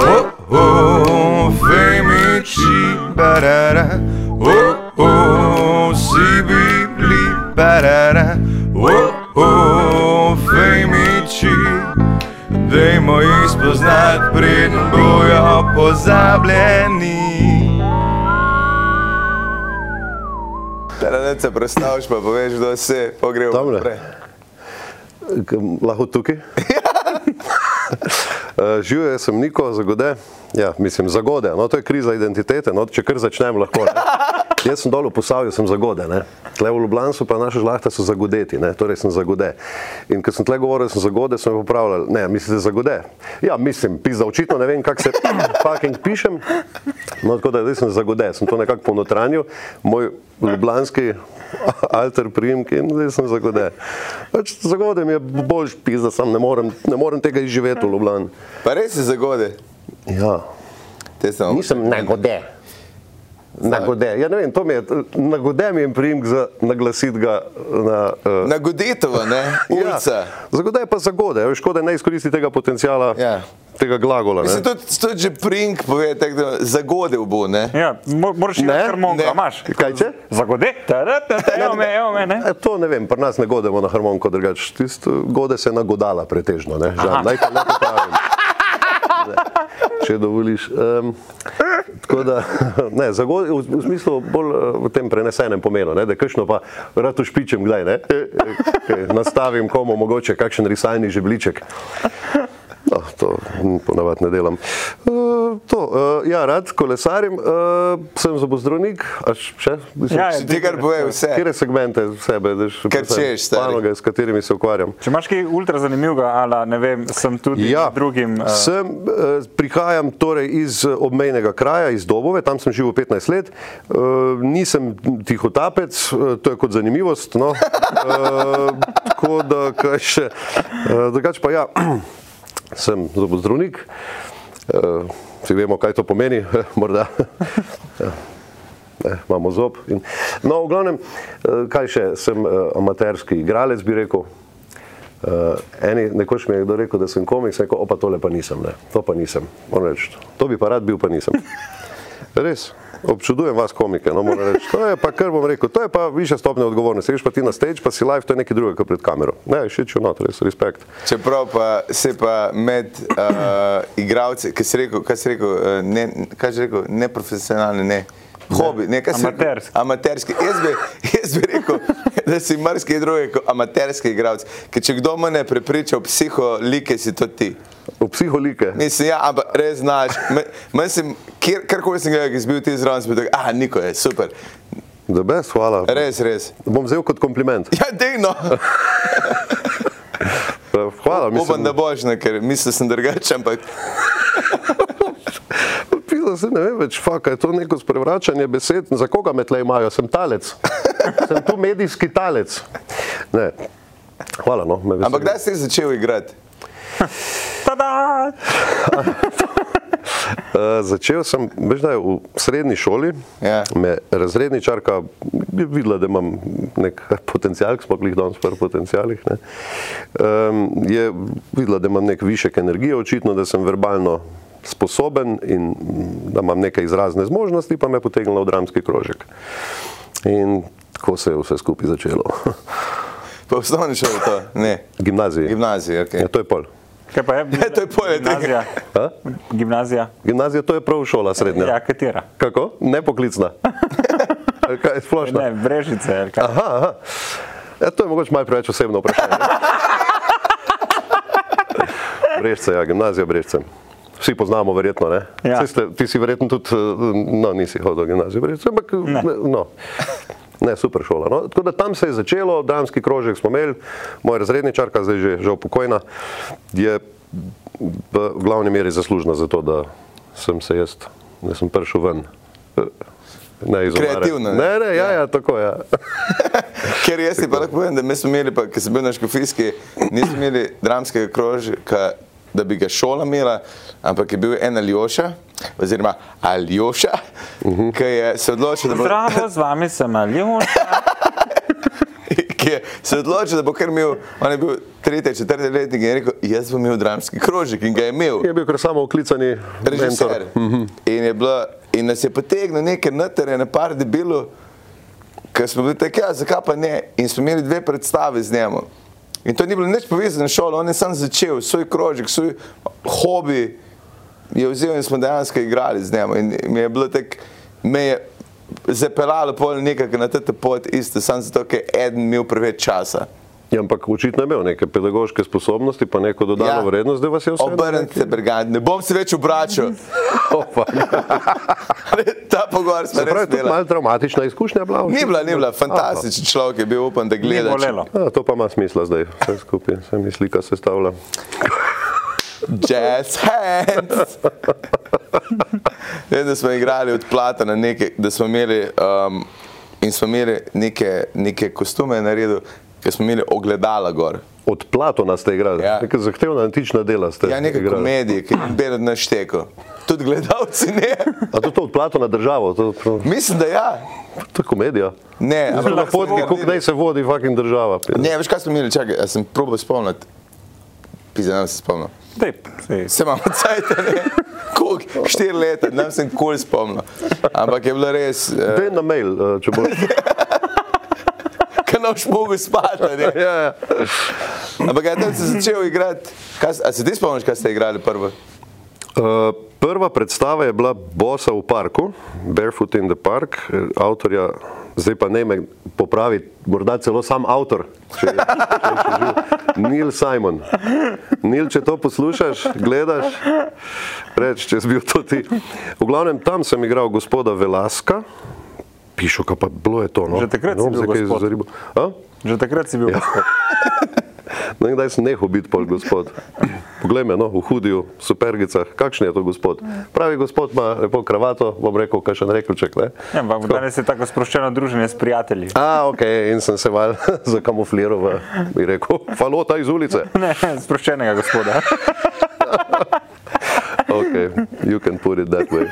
Oh, barara. Oh, oh, sibi, bli, barara. Oh, oh, fejmiči. Dajmo jih spoznat, preden bojo pozabljeni. Taranet se predstaviš, pa poveš, kdo si, pa gremo Tamle. naprej. K- Lahko tukaj. Eh, Živijo, jaz sem Niko, zagode. Ja, mislim, zagode. No, to je kriza identitete. No, če kar začnem, lahko. Ne. Jaz sem dol v Posavju, sem zagode. Ne. Tle v Ljubljani so pa naše žlahte so zagodeti, ne. torej sem zagode. In ko sem tle govoril, da sem zagode, so me popravljali. Ne, mislite zagode? Ja, mislim, pizda, očitno ne vem, kako se fucking pišem. No, tako da zdaj sem zagode, sem to nekako ponotranil, moj ljubljanski alter primek in zdaj sem zagode. Pač zagode mi je bolj pizda, sam ne morem, ne morem tega izživeti v Ljubljani. Pa res si zagode. Ja. Te sem. Nisem nagode. Nagode. Ja, ne vem, to mi je, nagode mi je primek za naglasiti ga na. Uh, Nagodetova, Ja. ne? Ulica. Zagode je pa zagode, veš, škoda je ne izkoristi tega potencijala, Ja. tega glagola. ne. Mislim, tudi, tudi že prink pove, tako da zagodev bo, ne? Ja, mo- moraš imeti Ne, harmoniko, ne. a imaš. Kaj če? Zagode, tada, tada, evo me, evo me, ne. E, to ne vem, pri nas ne godemo na harmoniko, drugače tisto gode se je nagodala pretežno, ne, žal, naj te ne popravim. Ne, Če dovoliš. Um, tako da, ne, zagod, v, v smislu bolj eh, v tem prenesenem pomenu, ne, da kakšno pa rad ušpičem kdaj, ne, e, e, e, nastavim komu mogoče kakšen risalni žebliček. No, to hm, ponavadi ne delam. E, to, e, ja, rad kolesarim, e, sem zobozdravnik, a š- še? Mislim, Ja, ja. Si ti kar pove vse. Katere segmente sebe, da še Kar češ, stari. panoge, s katerimi se ukvarjam? Če imaš kaj ultra zanimivega, ali ne vem, sem tudi Ja. drugim. eh, Ja. Sem, eh, prihajam torej iz eh, obmejnega kraja, iz Dobove, tam sem živel 15 let. Eh, Nisem tihotapec, eh, to je kot zanimivost. No. Eh, Tako da, kaj še. Eh, Drugače pa ja, sem zobozdravnik. Eh, Vsi vemo, kaj to pomeni, morda. Ja. Ne, imamo zob. In... No, v glavnem, eh, kaj še, sem eh, amaterski igralec, bi rekel. Uh, eni, nekoč mi je kdo rekel, da sem komik, sem rekel, opa, tole pa nisem, ne. to pa nisem. Moram Reči, to bi pa rad bil, pa nisem. Res, občudujem vas, komike. No, moram reči, to je pa, kar bom rekel, to je pa više stopnje odgovornosti. Greš pa ti na stage, pa si live, to je nekaj drugega kot pred kamero. Ne, še čuno, res, respekt. Čeprav pa se pa med uh, igravci, kaj si rekel, kaj si rekel, uh, ne, kaj si rekel, neprofesionalni, ne. Hobi, ne, kaj si rekel? Amaterski. Amaterski. Jaz bi, jaz bi rekel, da si marsikaj drugega kot amaterski igralec. Ker če kdo mene prepriča v psiholike, si to ti. V psiholike. Mislim, ja, ampak res znaš. Me- Meni se, kjer- karkoli sem gledal, ki si bil ti zraven, sem bil tako, ah, Niko je, super. Da bes, hvala. Res, res. Bom vzel kot kompliment. Ja, dejno. Hvala, Upam, da mislim. boš, ne, ker mislil sem drugače, ampak Pisa, se ne vem več, faka, je to neko sprevračanje besed. Za koga me tle imajo? Sem talec. sem tu medijski talec. Ne. Hvala, no. me veseli. Ampak kdaj si začel igrati? Tada! Uh, začel sem, veš, da je v srednji šoli. Ja. Me razredničarka je videla, da imam nek potencial, ki smo jih danes pri potencialih. ne. Um, je videla, da imam nek višek energije, očitno, da sem verbalno sposoben in mm, da imam neke izrazne zmožnosti, pa me je potegnila v dramski krožek. In tako se je vse skupaj začelo. Po osnovni šoli to? Ne. Gimnazija. Gimnazija, Ja, ok. to je pol. Kaj pa je? Ja, to je poleg tega. Gimnazija. Ha? Gimnazija. Gimnazija, to je prav šola srednja. Ja, katera? Kako? Nepoklicna. Ali Kaj je splošno? Ne, brežice. ali kaj. Aha, aha. E, to je mogoče malo preveč osebno vprašanje. Brežce, ja, gimnazija Brežce. Vsi poznamo, verjetno. Ne? Ja. Saj Ste, ti si verjetno tudi, eh, no, nisi hodil v gimnazijo Brežce, ampak ne. No. Ne, super šola. No, tako da tam se je začelo, dramski krožek smo imeli, moja razredničarka, zdaj že žal pokojna, je v glavni meri zaslužna za to, da sem se jaz, da sem prišel ven. eh, Ne, iz omare. Kreativno, ne? Ne, ne, ja, ja, tako je. Ja. Ker jaz ti pa lahko povem, da mi smo imeli, pa, ko sem bil na Škofijski, nismo imeli dramskega krožka, da bi ga šola imela, ampak je bil en Aljoša, oziroma Aljoša, uh -huh. ki je se odločil, da bo, Zdravo, z vami sem Aljon. ki je se odločil, da bo kar imel, on je bil tretji, četrti letnik in je rekel, jaz bom imel dramski krožek in ga je imel. Je bil kar samo oklicani režiser. mentor. In je bila, in In nas je potegnil nekaj noter, ene par debilo, ker smo bili tako, ja, zakaj pa ne. In smo imeli dve predstave z njim. In to ni bilo nič povezano s šolo, on je sam začel, svoj krožek, svoj hobi je vzel in smo dejansko igrali z njim. In mi je bilo tako, me je zapeljalo pol nekako na te pot, isto, samo zato, ker je eden imel preveč časa. Ja, ampak očitno je imel neke pedagoške sposobnosti, pa neko dodano ja. vrednost, da vas je vse. Obrnite se, Bergant, ne bom se več obračal. Ta pogovor smo Se pravi, res tudi imeli. malo travmatična izkušnja je bila. Ni očitno. bila, ni bila, A, fantastičen človek je bil, upam, da Ni gledaš. bolelo. A, to pa ima smisla zdaj, vse skupaj, se mi slika sestavlja. Jazz hands. Vem, da smo igrali od plata na neke, da smo imeli, um, in smo imeli neke, neke kostume na redu, ker smo imeli ogledala gor. Od Platona ste igrali, Ja. ja. neka zahtevna antična dela ste. Ja, neke igrali. komedije, ki jih berem na šteku. Tudi gledalci ne. A to, to od Platona državo, to, to, Mislim, da ja. to je komedija. Ne, Zelo na ampak- fotki, kako naj se vodi fucking država. Ne, veš kaj smo imeli, čakaj, jaz sem probal spomniti. Pizda, nam se spomnim. Dej, sej. Se imamo cajt, ne? Kolik? Štiri leta, nam sem kul spomnil. Ampak je bilo res, eh, Dej na mail, eh, če boš. ker noč mogel spati. a ne. ja, ja. Ampak ja, tam si začel igrati. Kaj s- A se ti spomniš, kaj ste igrali prvo? Uh, prva predstava je bila Bosa v parku, Barefoot in the Park, eh, avtorja, zdaj pa ne me popravi, morda celo sam avtor, če, je- če, je še živ, Neil Simon. Neil, če to poslušaš, gledaš, reči, če si bil to ti. V glavnem tam sem igral gospoda Velaska, pišo, kaj pa bilo je to. No? Že takrat ne si bom bil se kaj gospod. zaribo. A? Že takrat si bil. Ja. Ne, kdaj sem nehal biti pol gospod. Poglej me, no, v hudiju, v supergicah, kakšen je to gospod. Pravi gospod ima lepo kravato, bom rekel, kakšen rekelček. Ne? Ja, ampak danes je tako sproščeno druženje s prijatelji. A, ok, in sem se mal zakamufliral, v- bi rekel, falota iz ulice. Ne, sproščenega gospoda. Ok, you can put it that way.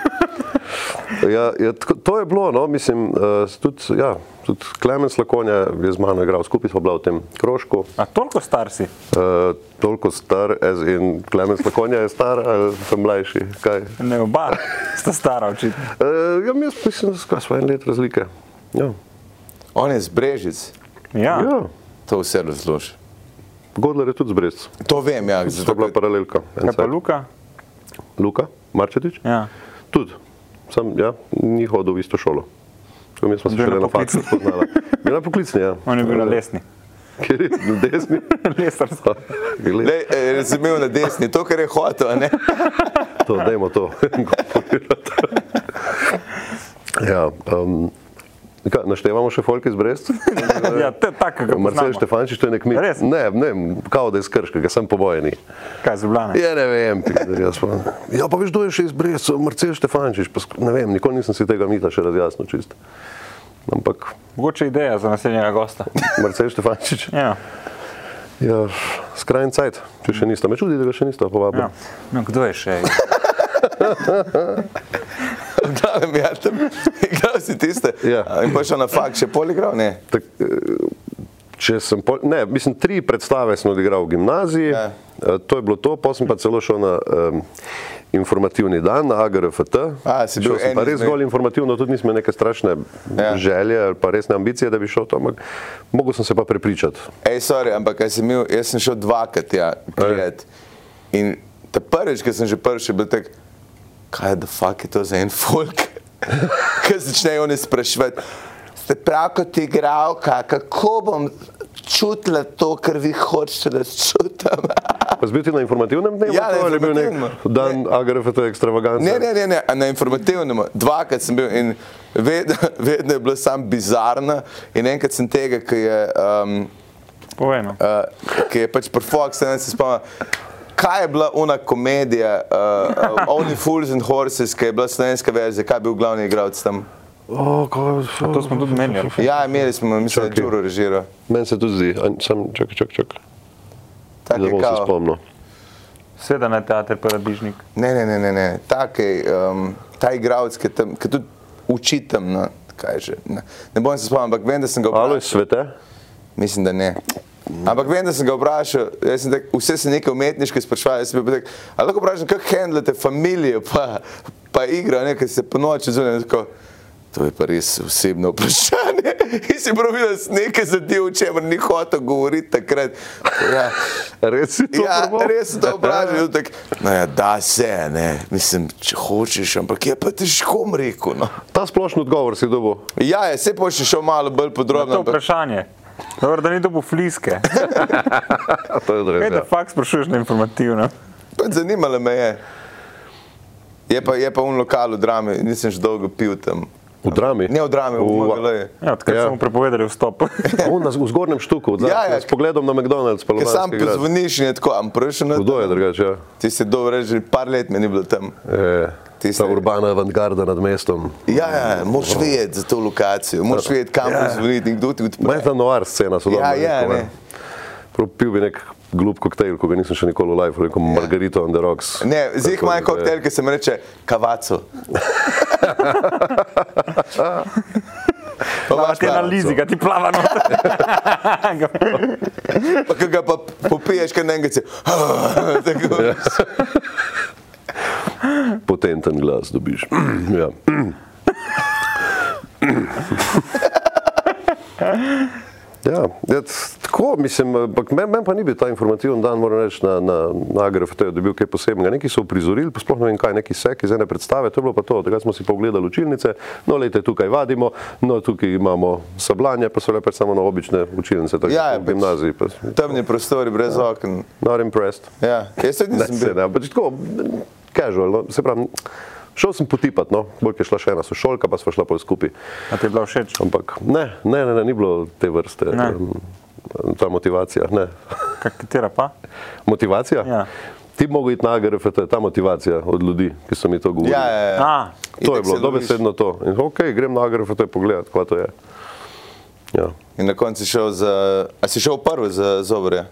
Ja, ja, tako, to je bilo, no, mislim, uh, tudi, ja, tudi Klemens Lakonja je z mano igral, skupaj smo bila v tem krožku. A toliko star si? Uh, toliko star, as in Klemens Lakonja je star ali sem mlajši, kaj? Ne, oba sta stara očitno. Uh, ja, jaz mislim, da skaj smo en let razlike. Ja. On je zbrežic, Ja. Ja. to vse razloži. Godler je tudi zbrez, To vem, ja, to je zato bila ker- paralelka. En Kaj Ja, pa cajt. Luka? Luka, Marčetič, Ja. tudi. Sam, ja, ni hodil v isto šolo. Tako Mi smo se Bil je šele na na faksu poklicni. spoznali. Bila poklicni, ja. On je bil na lesni. Kjer je na desni? Lesarsko. Glej, Lej, eh, Razumel na desni, to, kar je hotel, a ne? to, dajmo to. ja, um, kaj, naštevamo še folk iz Brest? Ja, to je tako, kot Marcel poznamo. Štefančič, to je nek mit. Res? Ne, ne, kao da je iz Krškega, sem pobojeni. Kaj, zubljane? Ja, ne vem, Peter, jaz pa. Ja, pa veš, kdo je še izbrisal, Marcel Štefančič, pa sk- ne vem, nikoli nisem si tega mita še razjasnil čist. Ampak Mogoče ideja za naslednjega gosta. Marcel Štefančič Ja. je skrajni cajt, če še niste. Me čudi, da ga še niste povabili. Ja. No, kdo je še? V glavnem, ja, tam igral si tiste. Ja. A, In pa šel na fakt, še pol igral, ne? Tak, eh, če sem, pol, ne, mislim, tri predstave sem odigral v gimnaziji, Ja. ja. to je bilo to, potem sem pa celo šel na um, informativni dan, na AGRFT. A, si bil šel sem en pa res izmed- zgolj informativno, tudi nisem imel neke strašne ja. Ja. želje ali pa resne ambicije, da bi šel tam, ampak mogel sem se pa prepričati. Ej, sorry, ampak jaz sem, imel, jaz sem šel dvakrat, ja, gledat. In ta prvič, ki sem že prvič, je bil tak, kaj da fuck je to za en folk, ki začnejo oni spraševati. Ste prav kot igralka, kako bom čutila to, kar vi hočete, da čutim? Pa si bil ti na informativnem dnevu? Ja, na to, ali je bil nek informativnem. dan ne. AGRFT ekstravaganca? Ne, ne, ne, ne, na informativnem. Dvakrat sem bil in vedno, vedno je bilo sam bizarno. In enkrat sem tega, ki je, um, Povej no. Eh. uh, ki je pač prfox, ne se spomnim. Kaj je bila ona komedija, uh, uh, Only Fools and Horses, ki je bila slovenska verzija, kaj je bil glavni igralec tam? O, ko, To smo tudi menjali. Ja, imeli smo, mislim, da Čakaj. je Džuro režiral. Meni se tudi zdi, a- samo čakaj, čakaj, čakaj. Tak Ne je bom se kao. spomnil. Sveda na teater Paradižnik. Ja, Ne, ne, ne, ne, ne. Tak je, um, ta igralec, ki, tam- ki tudi učitam, no, kaj je že. Ne, ne bom se spomnil, ampak vem, da sem ga Alo, svete? Mislim, da ne. Ampak vem, da sem ga vprašal, jaz sem tak, vse se nekaj umetniške sprašval, jaz sem bil pa tak, ali lahko vprašam, kako handlate familijo, pa, pa igra, nekaj se po noči zunaj. tako, To je pa res osebno vprašanje. In si prav videl, nekaj zadev, o čemer ni hotel govoriti takrat. Ja, Res si to ja proval? res sem to vprašal. Tak, no ja, da se, ne. mislim, če hočeš, ampak je pa težko bom rekel. No. Ta splošni odgovor si dobil. Ja, je, se pošli šel malo bolj To no, podrobno. je vprašanje. Dobro, da ni dobil fliske. Ja, to je Kaj da res. faks sprašuješ na informativno? Pač zanimalo me je. Je pa, je pa v lokalu drame, nisem že dolgo pil tam. V drami. Ne v drame, v V- Mogaleju. Ja, takrat Ja. ja. smo mu prepovedali vstop. A On na z- v zgornjem štuku, da, Ja, ja, ja. ja. s pogledom na McDonald's. pa Ker sam Ljubljanski grad. pozvoniš in je tako, am prišel na Kdo je drugače? Ja. Ti si dobro reči, par let me ni bilo tam. E, Tisti- ta urbana avantgarda nad mestom. Ja, ja, moraš vedeti za to lokacijo, moraš vedeti, kam Ja. pozvoniti in kdo ti Maj odpre. ta noir scena, sodobna. Ja, ja, ne. Propil bi nek glup koktejl, ko ga nisem še nikoli v live, rekel ja. Margarito on the rocks. Ne, zdaj Tako ja. imajo da- koktejl, ki se mi reče kavaco. Pa imaš Ti pa- Ja, na lizi, ga ti plava noter. Pa ki ga pa popiješ, kaj nekaj se. Tako. Ja. Potenten glas dobiš. ja. Ja, ja, t- tako mislim, ampak meni men pa ni bil ta informativen dan, moram reči, na, na, na AGRFT-u, da je bil kaj posebnega. Neki so uprizorili, pa sploh ne vem kaj, neki sek iz ene predstave, to je bilo pa to, da smo si pogledali učilnice, no lejte, tukaj vadimo, no tukaj imamo sablanje, pa so lepe samo na obične učilnice, tako Ja, ja, ja, v pač. gimnaziji. Pa, Temni prostori, brez oken. not impressed. Ja. Jaz tudi Ne, nisem se bil. ne, ampak tako, casual, no, se pravi, šel sem potipat, no, bolj je šla še ena sošolka, pa smo šla pol skupaj. A ti je bilo všeč? Ampak ne, ne, ne, ne, ni bilo te vrste, Ne. em, ta motivacija, ne. Kaj, Katera pa? Motivacija? Ja. Ti bi mogel iti na AGRFT, ta motivacija od ljudi, ki so mi to govorili. Ja, ja, ja. A, To je Itak bilo se loviš. dobesedno to. In, ok, grem na AGRFT pogledat, kva to je. Ja. In na koncu si šel za. A si šel prvi za zobre?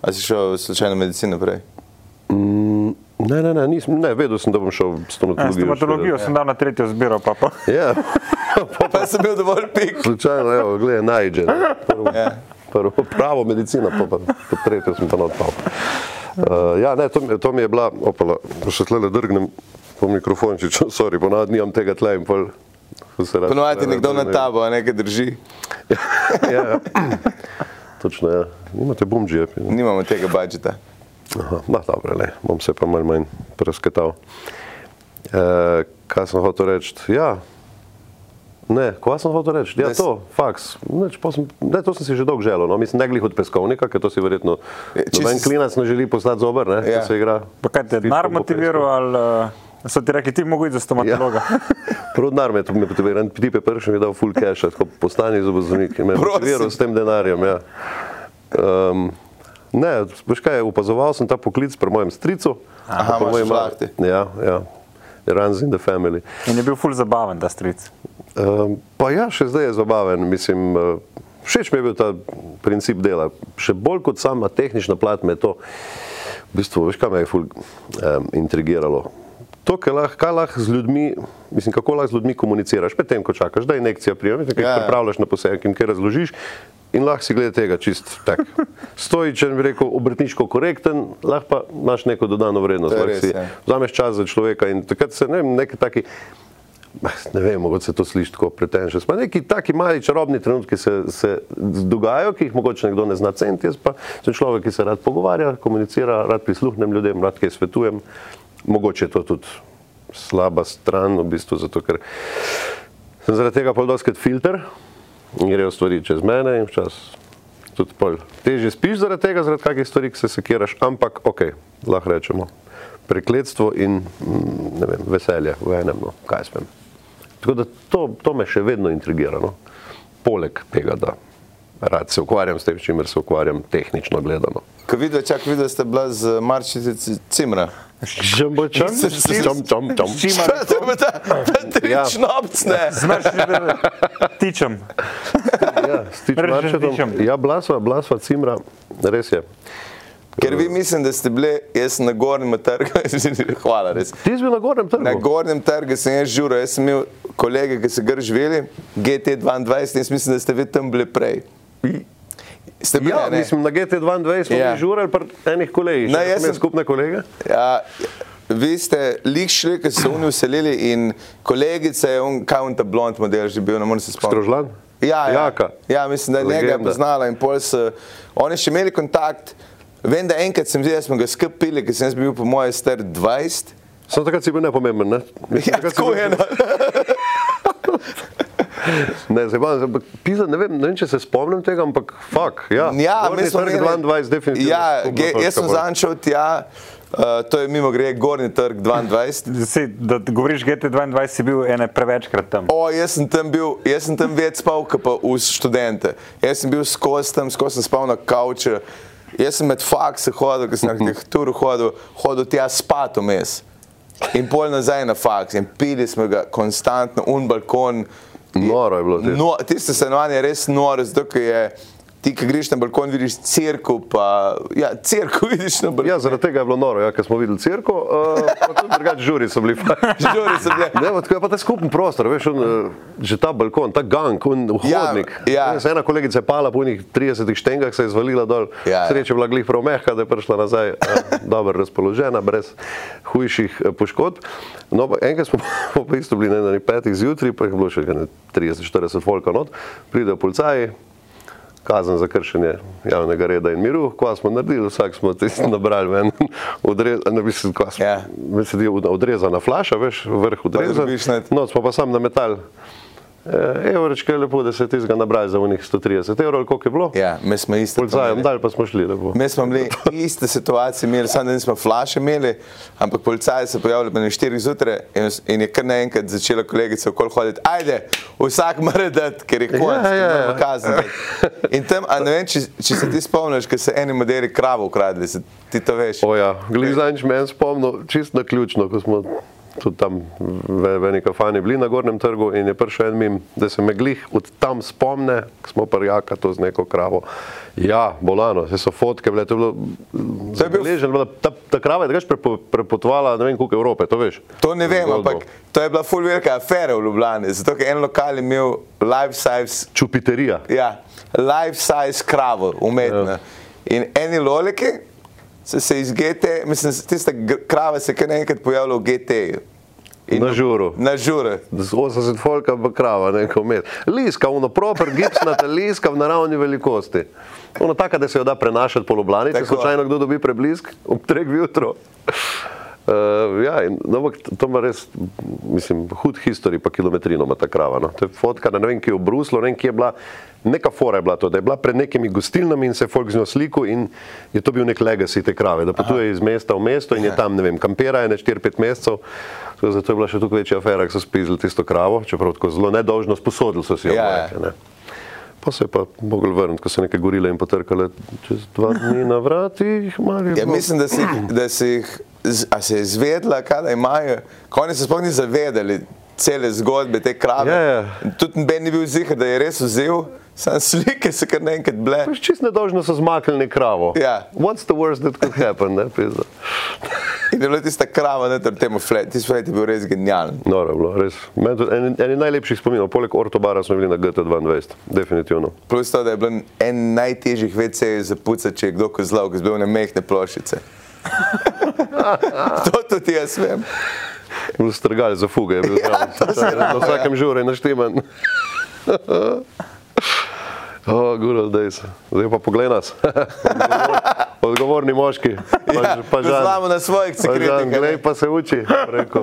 A si šel slučajno medicino prej? Ne, ne, ne, nisem, ne, vedel sem, da bom šel s ja, stomatologijo. stomatologijo sem dal na tretjo zbiro, pa pa. Ja, Pa sem bil dovolj pik. slučajno, evo, gledaj, najde. Prvo, Ja. prvo pravo medicina, pa, pa, pa tretjo sem pa odpal. Uh, ja, ne, to, mi- to mi je bila, opala, še tle drgnem po mikrofončiču, sorry, ponavadi nimam tega tle in pol. se rad- Ponovadi nekdo na ne- tabo, a nekaj drži. Ja, ja. Točno, ja. Nimate bumžije. Nimamo tega budžeta. No, dobro, le, bom se pa malo manj presketal. E, kaj sem hotel reči? Ja. Ne, kva sem hotel reči? Ja, Ne s- to, faks. Neč, sem, ne, to sem si že dolgo želel. No. Mislim, ne glih od peskovnika, ker to si verjetno... Je, E, čisto Noben s- klinac ne želi poslati zober, ne, ja. ker Ja. se igra... Pa kaj te je denar motiviral ali uh, so ti rekli, ti mogo iti za stomatologa? Prodnar me je motiviral, en tip je prišel in mi je dal full cash, tako postani zobozdravnik in me je Prosim. motiviral s tem denarjem. Ja. Um, ne, veš kaj, opazoval sem ta poklic pri mojem stricu. Aha, pri imaš mojem- žlahti. Ja, ja. Runs in the family. In je bil ful zabaven, da stric. Um, pa ja, še zdaj je zabaven. Mislim, eh, všeč mi je bil ta princip dela. Še bolj kot sama tehnična plat me je to, v bistvu, veš, kaj me je ful, um, intrigiralo. To, kaj lahko kaj lahko z ljudmi, mislim, kako lahko z ljudmi komuniciraš, medtem ko čakaš, da injekcija pride, medtem ko Ja, jih ja. pripravljaš na poseg, jim kaj razložiš. In lahko si glede tega čist tak. Stojičen, bi rekel, obrtniško korekten, lahko pa imaš neko dodano vrednost. To je Lahko res, si ja. Vzameš čas za človeka in takrat se ne vem, neki taki Ah, Ne vem, mogoče se to sliši tako pretentious. Pa neki taki mali čarobni trenutki se, se dogajajo, ki jih mogoče nekdo ne zna ceniti. Jaz pa sem človek, ki se rad pogovarja, komunicira, rad prisluhnem ljudem, rad kaj svetujem. Mogoče je to tudi slaba stran, v bistvu zato, ker sem zaradi tega pol doskrat filter in grejo stvari čez mene in včasih tudi pol. Teže spiš zaradi tega, zaradi kakih stvari, ki se sekiraš, ampak ok, lahko rečemo. Prekletstvo in mm, ne vem, veselje v enem, no, kaj spem. Tako da to, to me še vedno intrigira. No. Poleg tega, da rad se ukvarjam s tem, s čimer se ukvarjam tehnično gledano. Ko vidiš, čak vidiš, da ste bila z Marčice Cimra. Žembočam, čom, čom, čom. Čima To je pa ta, ta Ja. tričnopc, ne? Znaš, da tičem. Ja, stič Režem, marčetom. dišem. Ja, blasva, blasva, cimra, res je. Ker vi mislim, da ste bili, jaz sem na gornjem trgu, hvala res. Ti si bil na gornjem trgu. Na gornjem trgu sem jaz žuro, jaz sem imel kolege, ki so ga živeli, GT22, in jaz mislim, da ste vi tam bili prej. Ste bili, Ja, ne? mislim, na GT22 smo Ja. bili žurali pri enih kolegih. Ne, Ne, jaz jaz sem sem- skupne kolege. Ja, vi ste lik šli, ki so se oni uselili in kolegica je on, kaj on ta blond model že bil, ne morem se spomniti. Strožlan? Ja, ja. Jaka. ja, mislim, da je njega je Legenda. poznala in pol se, oni še imeli kontakt. Vem, da enkrat sem videl, da smo ga skup pili, ker sem jaz bil po mojem star 20. Samo takrat si bil nepomemben, ne? Mislim, Ja, takrat si tako bil- je. no. Ne, zabavam se, ampak pisa, ne vem, ne vem, če se spomnim tega, ampak fuk, ja. Ja, Gornji mi smo trg imeli- 22, definitivno. Ja, skupna ge, jaz točka sem bolj. zančal tja, uh, to je mimo gre, Gorni trg 22. Sej, da govoriš GT22, si bil ene prevečkrat tam. O, jaz sem tam bil, jaz sem tam več spal, kot pa v študente. Jaz sem bil skozi tam, skozi sem spal na kavču. Jaz sem med faksom hodil, ker sem na arhitekturo hodil, hodil tja spat vmes. In pol nazaj na faks. In pili smo ga konstantno, un balkon. Noro je bilo tisto. No, tiste stanovanje je res noro, zato ker je ti, ki greš na balkon, vidiš crkvo, pa ja, crkvo vidiš na balkonu. Ja, zaradi tega je bilo noro, ja, ker smo videli cirko, uh, pa tudi drugače žuri so bili. fajn. Žuri so ja. bile. Ne, pa tako je pa ta skupen prostor, veš, on, eh, že ta balkon, ta gang, on, Ja, hodnik. ja. Se ena kolegica je pala po unih 30 štengah, se je zvalila dol. Ja, ja. Sreče je bila glih prav mehka, da je prišla nazaj eh, dobro razpoložena, brez hujših eh, poškodb. No, pa enkrat smo pa pa isto bili ne, na eni petih zjutraj, pa je bilo še kakšne 30-40 folka not, pridejo policaji, kazen za kršenje javnega reda in miru, ko smo naredili, vsak smo tisti nabrali ven, odrezan, ne mislim, ko smo, Ja. mislim, da je odrezana flaša, veš, vrh odrezan, dobiš net. no, smo pa sam na metal. Evrečke je lepo, da se je tistega nabrali za unih 130 evrov, ali koliko je bilo. Ja, mi smo isto. Polcajem dal, pa smo šli lepo. Mi smo bili iste situacije, imeli, samo da nismo flaše imeli, ampak policaj se je pojavil na 4 zjutraj in, in je kar naenkrat začela kolegica okoli hoditi. Ajde, vsak mora dati, ker je konec, Ja, ja, ja, ja. ja, ja. kazen. dati." In tam, a ne vem, če, če se ti spomniš, ker se eni modeli kravo ukradli, se ti to veš. O ja, glizanč meni spomnil, čist na ključno, ko smo tudi tam v, v neki kafani bili na Gornjem trgu in je prišel en mim, da se me glih od tam spomne, ko smo prjaka to z neko kravo. Ja, bolano, se so fotke bile, to je bilo, To je bil- zabeleženo, bila, ta, ta krava je drugače prepo, prepotovala ne vem koliko Evrope, to veš. To ne vem, Zgodbo. ampak to je bila full velika afera v Ljubljani, zato ker je en lokal imel life-size Čupiterija. Ja, life size kravo, Ja. umetna. In eni loleki so se iz GT, mislim, tiste gr- krave se je kar enkrat pojavlja v GT-ju. In- Na žuru. Na žuru. Z 80 folka pa krava, neko med. Liska, ono proper, gipsnata liska v naravni velikosti. Ono taka, da se jo da prenašati po Ljubljani, če Tako. slučajno kdo dobi preblisk, ob treh jutro. Uh, ja, in, no, ampak to ima res, mislim, hud historij, pa kilometrino ima ta krava. No. To je fotka, na ne vem, kje je v Bruslu, ne vem, kje je bila, neka fora je bila to, da je bila pred nekimi gostilnami in se je folk z njo slikal in je to bil nek legacy te krave, da potuje Aha. iz mesta v mesto Ja. in je tam, ne vem, kampera je na 4-5 mesecev, tako da zato je bila še toliko večja afera, ko so spizili tisto kravo, čeprav tako zelo nedožno sposodili so si jo. Ja, bomo ja. rekli, ne. Pa se je pa mogel vrniti, ko so neke gorile in potrkale čez dva dni na vratih, Marijo. Ja, mislim, da si, da si jih, z- a se je izvedla, kaj da imajo. Ko oni se sploh ni zavedali cele zgodbe te krave. Ja, ja. Tudi Ben ni bil zihar, da je res vzel, sam slike so kar naenkrat bile. Pač čist nedožno so zmaknili kravo. Ja. What's the worst that could happen? Ne, pizda. In je bila tista krava, ne ter temu flet, tisti flet je bil res genijalen. Noro je bilo, res. Meni tudi en, en najlepših spominov, poleg ortobara smo bili na GT22, definitivno. Plus to, da je bil en najtežjih VC-jev za puca, če je kdo kozlov, ki je bil na mehke plošice. to tudi jaz vem. Bili strgali za fuge, je bil Ja, zraven. to se ja. je na vsakem žure naštiman. O, gurul, dej se. Zdaj pa poglej nas. Odgovor- Odgovorni moški. Pa, Ja, ž- pa žan. znamo na svojih Pa žan, glej sekretih. pa se uči, rekel.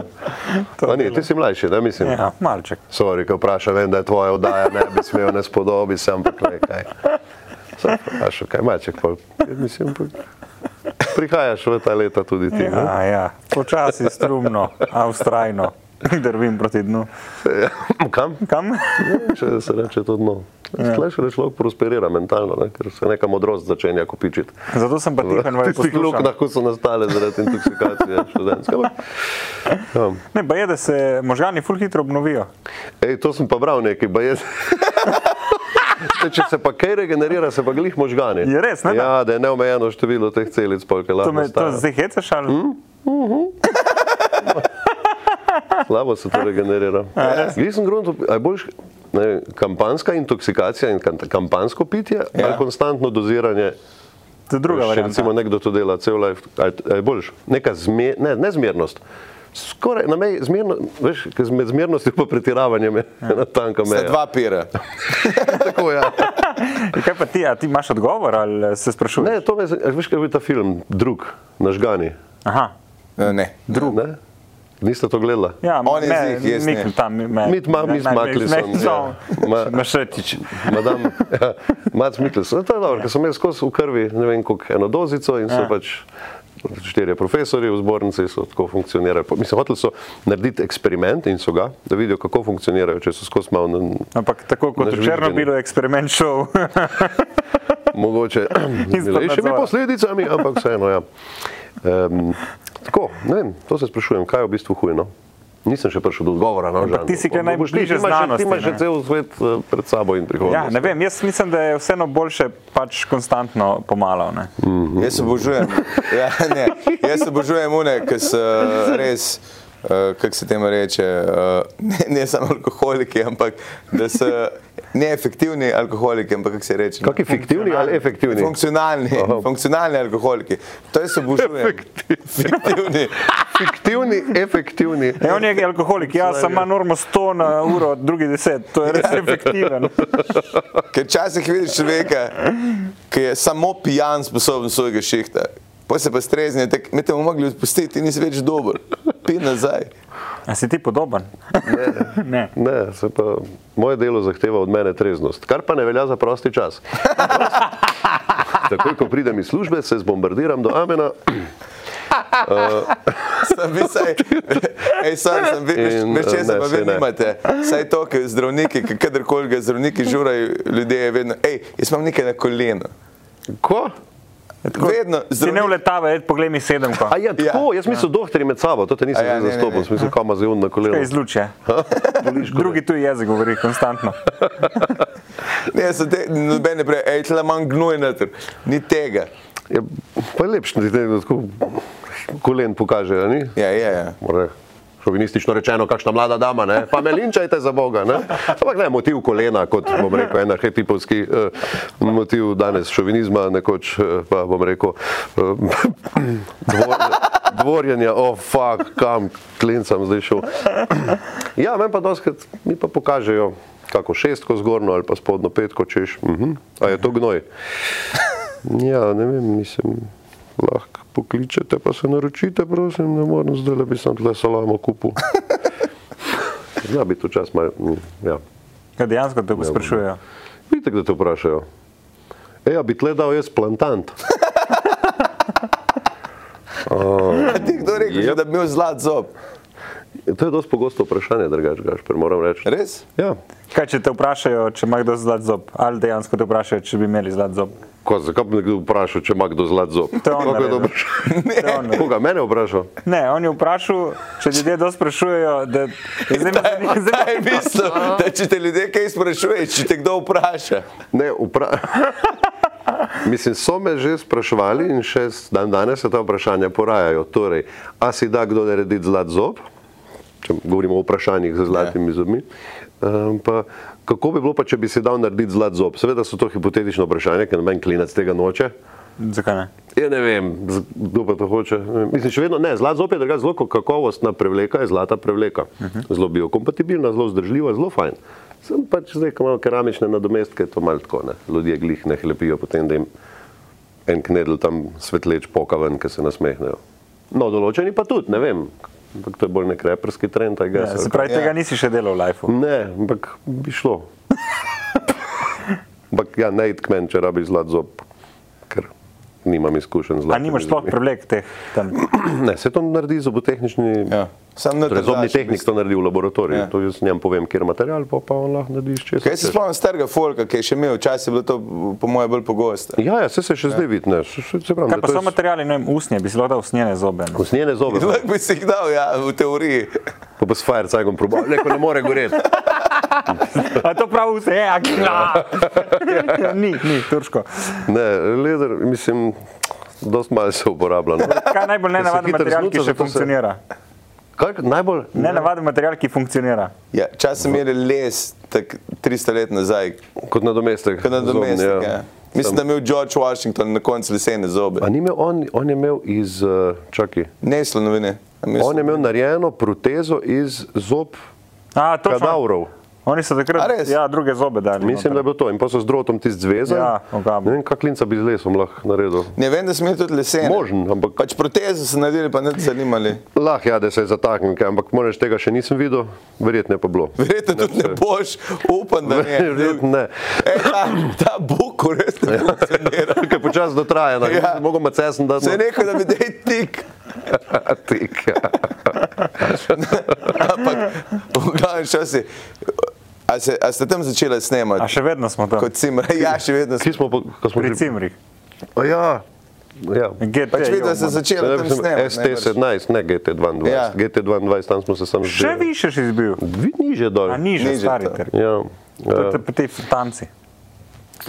A ni, ti si mlajši, ne mislim. Ja, malček. Sorry, ko vprašam, vem, da je tvoja oddaja, ne bi smel ne spodobi, sem pa kaj. Sem vprašal, kaj maček, pa mislim, pa prihajaš v ta leta tudi ti. ne? Ja, ja. Počasi, strumno, a vztrajno, drvim proti dnu. Ja. Kam? Kam? Ne, Če se reče to dno. Ja. Slišiš, da človek prosperira mentalno, ne? ker se neka modrost začenja kopičiti. Zato sem pa V tiho in vaju tistih poslušal. luknjah, ko so nastale zaradi intoksikacije študentske. Ampak, Ja. Ne, pa je, da se možgani ful hitro obnovijo. Ej, to sem pa bral nekaj, pa jaz. Zdaj, Če se pa kaj regenerira, se pa glih možgani. Je res, ne, da? Ja, da je neomejeno število teh celic, polka lahko. To, me, to nastajajo. zdaj hecaš ali? Slabo se to regenerira. Glih sem grunto, a je boljš ne, vem, kampanska intoksikacija in kan- kampansko pitje, Ja. ali konstantno doziranje To je druga Če varianta. Recimo nekdo to dela cel life, ali ali je boljš, neka zme, ne, nezmernost. Skoraj na meji zmerno, veš, ker z- med zmernostjo pa pretiravanjem je ena tanka Sta meja. dva pira. Tako, ja. Ja, Kaj pa ti, a ti imaš odgovor ali se sprašuješ? Ne, to me zanima, veš, kaj je bil ta film, drug, nažgani. Aha, Eh, Ne. Drug. Ne? Niste to gledali? ja, On je me- z njih, jaz ne. Mikl tam, me- Mit ma, ne- mit ne- ne- Makleson. ne- ja. Ma- Mašetič. Madam, ja, Mac Mikkelsen, No, to je dobro, ker sem imel skozi v krvi, ne vem, koliko eno dozico in so Ja. pač štirje profesori v zbornici so tako funkcionirali. Pa Mislim, hoteli so narediti eksperiment in so ga, da vidijo, kako funkcionirajo, če so skozi malo na, Ampak tako kot v Nežvižgani. Černobilu je eksperiment šel. mogoče milejšimi nadzora. posledicami, ampak vseeno, ja. Um, tako, ne vem, to se sprašujem, kaj je v bistvu hujno. Nisem še prišel do odgovora. No, Ampak Žan. ti si kaj Bo- boš ti, najbližje ti imaš še- znanosti, Ti imaš še ne. cel svet eh, pred sabo in prihodnost. Ja, ne vem, jaz mislim, da je vseeno boljše pač konstantno pomalo. Ne? Jaz obožujem, ja, ne, jaz obožujem une, ki so res, uh, kako se temu reče, uh, ne, ne samo alkoholiki, ampak da so neefektivni alkoholiki, ampak kako se reče. Kaki fiktivni ali efektivni? Funkcionalni, Aha. funkcionalni alkoholiki. To jaz obožujem. Fiktivni. Fiktivni, efektivni. Ja, on je alkoholik, jaz sem imam normo 100 na uro, drugi 10, to je Ja. res efektiven. Ker včasih vidiš človeka, ki je samo pijan sposoben svojega šihta. Potem se pa strezni, tako, mi te bomo mogli odpustiti, nisi več dober, pi nazaj. A si ti podoben? Ne. Ne, se pa, moje delo zahteva od mene treznost, kar pa ne velja za prosti čas. Takoj, ko pridem iz službe, se zbombardiram do Amena. Sem bil, saj, ej, sam sem bil, veš, In, veš eh, česa ne, pa vi saj ne. nimate. Saj to, ker zdravniki, ke kadarkoli ga zdravniki žurajo, ljudje je vedno, hej, jaz imam nekaj na kolenu. Ko? Vedno, Ti ne zdravnik- vletava, jed, poglej mi sedem, ko A ja, tako, jaz mislim, dohteri med sabo, to te nisem A ja, ja, ne, ne, zastopil, ne. sem mislil, kam zelo na koleno. Kaj izluče. Drugi tuji jezik govori konstantno. Ne, sem te, nobene prej, hej, tle imam gnoj noter, ni tega. Je, Ja, pa je lepše, da ti nekdo tako kolen pokaže, a ni? Ja, ja, ja. More, šovinistično rečeno, kakšna mlada dama, ne? pa me linčajte za Boga. Ne? Ampak ne, motiv kolena, kot bom rekel, en arhetipovski eh, motiv danes šovinizma, nekoč eh, pa bom rekel eh, dvor, dvorjenja, o oh, fuck, kam klin sem zdaj šel. Ja, meni pa doskrat mi pa pokažejo. Kako šestko zgornjo ali pa spodnjo petko, češ, uh -huh. a je to gnoj. Ja, ne vem, mislim, lahko pokličete, pa se naročite, prosim, ne morem zdaj, da bi sem tle salamo kupil. Ja, Zna biti včasih malo. mm, Ja. Kaj dejansko te sprašujejo? Vidite, da te vprašajo. E, ja, bi tle dal jaz plantant. A ti kdo rekel, že, Jep. da bi imel zlat zob? To je dosti pogosto vprašanje, drugače, gašper, moram reči. Res? Ja, Kaj če te vprašajo, če ima kdo zlat zob? Ali dejansko te vprašajo, če bi imeli zlat zob? Ko, zakaj bi nekdo vprašal, če ima kdo zlat zob? To je Kako on je naredil. to To je on vprašanje? naredil. Koga, mene vprašal? Ne, on je vprašal, če ljudje to sprašujejo, da je zdaj me zanima, zdaj Kaj je bistvo, da če te ljudje kaj sprašuje, če te kdo vpraša? Ne, vpra... Mislim, so me že spraševali in še s- dan danes se ta vprašanja porajajo. Torej, a si da kdo narediti zlat zob? Če govorimo o vprašanjih z zlatimi zobmi. Em, Pa, kako bi bilo, pa, če bi si dal narediti zlat zob? Seveda so to hipotetično vprašanje, ker noben klinac tega noče. me- Zakaj ne? Ja, ne vem, z- kdo pa to hoče. Ne vem. Mislim, še vedno ne, zlat zob je drugače zelo kakovostna prevleka, je zlata prevleka. Uh Mhm. -huh. Zelo biokompatibilna, zelo vzdržljiva, zelo fajn. Sem pač zdaj, ko imamo keramične nadomestke, je to malo tako. Ne. Ljudje glih ne hlepijo, potem da jim en knedl tam svetleč poka ven, ki se nasmehnejo. No, določeni pa tudi, ne vem. Ampak to je bolj nek reperski trend, tega Ja, se pravi, Ja. tega nisi še delal v lifeu. Ne, ampak bi šlo. ampak ja, ne id k meni, če rabi zlat zob, ker nimam izkušenj z A zlatom. nimaš sploh prevlek teh tam? Ne, se to naredi zobotehnični. Ja. Sam ne Torej, zobni tehnik to naredi v laboratoriju, Ja. ja. to jaz njemu povem, kjer je material, pa, pa on lahko naredi iz česa. Kaj se spomnim starega folka, ki je še imel, včasih je bilo to po mojem bolj pogosto. Ja, ja, se, se še ja. zdaj vidi, ne, se, se, se pravi, Kaj da pa to so je materijali, ne vem, usnje, bi si lahko dal usnjene zobe. ne? usnjene zobe, Lahko bi si jih dal, ja, v teoriji. pa pa s firecajgom probal, neko ne more goreti. A to prav vse je, a Ja. kla! Ni, ni, turško. Ne, leder, mislim, dosti malo se uporablja. no. Kaj je Ker najbolj se nenavaden hitro material, znuca, ki zato še se- funkcionira? Kaj najbolj? Nenavaden material, ki funkcionira. Ja, Čas sem imel les, tako 300 let nazaj, Kot nadomestek. kot nadomestek. zobni, Ja. Mislim, da je imel George Washington na koncu lesene zobe. A ni imel on, on je imel iz, eh, čakaj, Ne slonovine. on je imel narejeno protezo iz zob A, točno. kadavrov. Oni so A takrat res? ja, druge zobe dali. Mislim, da je bilo to. In pa so z drotom tisti zvezan. Ja, ogabno. ne vem, kak linca bi z lesom lahko naredil. Ne vem, da smo imeli tudi lesene. Možen, ampak- Pač proteze so naredili, pa ne zanimali. Lahko ja, da se je zataknil, kaj, ampak moraš tega še nisem videl, verjetno je pa bilo. Verjetno tudi ne boš, upam, da ne. Verjetno ne. Ja. Ej, ta, ta buku res ne funkcionira. Kaj počasi dotraja, ne Ja. ja. mogo me cesen, da Se je ne. rekel, da bi dej tik. Tik. ja. Ampak, pogledaj, še si. A, se, a ste tam začeli A snemati? še vedno smo tam. Kot si rekel, ja, še vedno Kje si. smo, po- ko smo Pri že? Cimrih. A Ja. ja. GT, Pač videl, da ste joman. začeli tam snemati. ne, pač. ST17, ne GT22. Ja. Ja. GT22, tam smo se sam Še više si izbil. Vi niže dol. A niže, Niže, niže stari to. trg. Ja. To Ja, je pri tej tanci.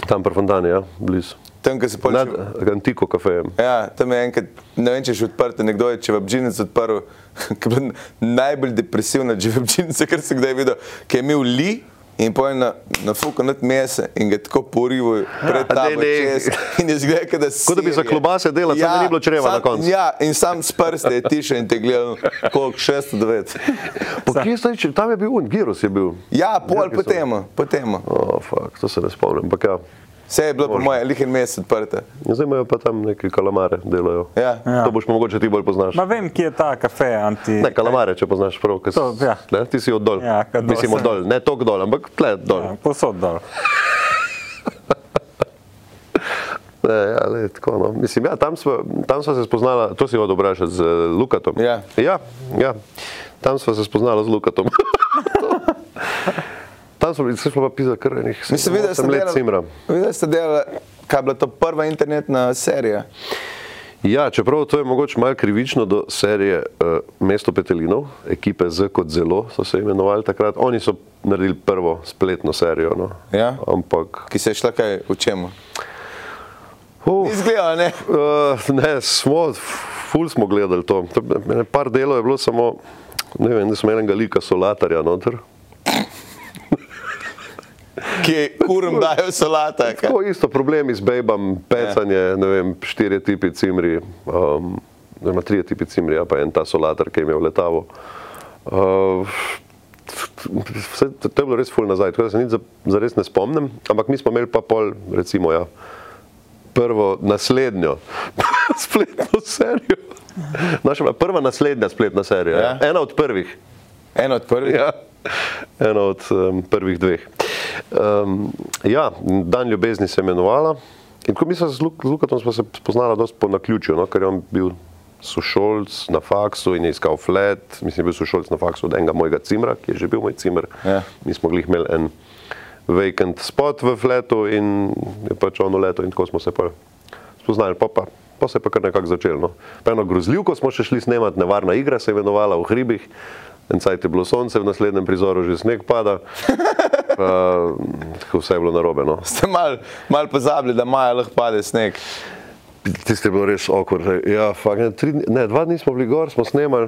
tam pri Fontani, ja, blizu. Tam, ko se Nad počne. Antiko kafejem. Ja, tam je enkrat, ne vem, če je še odprto, nekdo je, če je Vabžinec odprl, ki je bila najbolj depresivna, če je Vabžinec, kar sem kdaj videl, ki je imel li in pojem na, na fuko nad mese in ga tako porivo A pred daj, tabo dej. čez. In je zgled, da si. Kot da bi za klobase delal, samo da ni bilo čreva na koncu. Ja, in sam s prste je tiše in te gledal, koliko 609. Pa kje zdaj, če- Tam je bil un, Giros je bil. Ja, pol Jerki po so. temu, po temu. Oh, fuck, to se ne spomnim. Ampak ja, Vse je bilo po mojem, lihen mesec odprte. In zdaj imajo pa tam neke kalamare, delajo. Ja. Ja. To boš pa mogoče ti bolj poznaš. Ma vem, kje je ta kafe anti. Ne, kalamare, če poznaš prav, ker si- To, ja. ne, ti si od dol. Ja, ke dol Mislim sem. od dol, ne tok dol, ampak tle dol. Ja, Posod dol. Ne, ja, le, tako, no. Mislim, ja, tam, sva, tam sva se spoznala, to si hotel vprašati z eh, Lukatom. Ja. Ja, ja, tam sva se spoznala z Lukatom. tam smo bili, se smo pa pisali kar enih Mislim, videl sem 8 let Simra. Videl ste delal, kaj je bila to prva internetna serija. Ja, čeprav to je mogoče malo krivično do serije uh, Mesto Petelinov, ekipe Z kot zelo so se imenovali takrat. Oni so naredili prvo spletno serijo. No. Ja. Ampak. ki se je šla kaj v čemu. Uh, Izgleda, ne. Uh, ne, smo, ful smo gledali to. to mene par delov je bilo samo, ne vem, da smo enega lika solatarja noter. Ki kurm dajo solata. kaj. Tako isto problemi z bejbam, pecanje, ja. ne vem, štiri tipi cimri, um, oziroma tri tipi cimri, ja, pa en ta solatar, ki je imel letavo. Uh, Vse, to to je bilo res ful nazaj, tako da se nič za, za res ne spomnim, ampak mi smo imeli pa pol, recimo, ja, prvo naslednjo spletno serijo. Naša je bila prva naslednja spletna serija, ja. Ja. ena od prvih. Eno od prvih. Ja, ena od um, prvih dveh. Um, ja, Dan ljubezni se je imenovala. In ko mislim, z Luk- z Lukatom smo se spoznali dosti po naključju, no, ker je on bil sošolc na faksu in je iskal flat, mislim, je bil sošolc na faksu od enega mojega cimra, ki je že bil moj cimr. Ja. Mi smo glih imeli en vacant spot v fletu in je pač ono leto in tako smo se pa spoznali. Pa, pa, pa se je pa kar nekako začelo. No. Pa eno grozljivko smo še šli snemati, nevarna igra se je imenovala v hribih. En cajt je bilo sonce, v naslednjem prizoru že sneg pada. Pa, tako vse je bilo narobe. No. Ste mal, mal pozabili, da maja lahko pade sneg. Tisti je bil res okor. Ja, fakt, ne, tri, dni- ne, dva dni smo bili gor, smo snemali,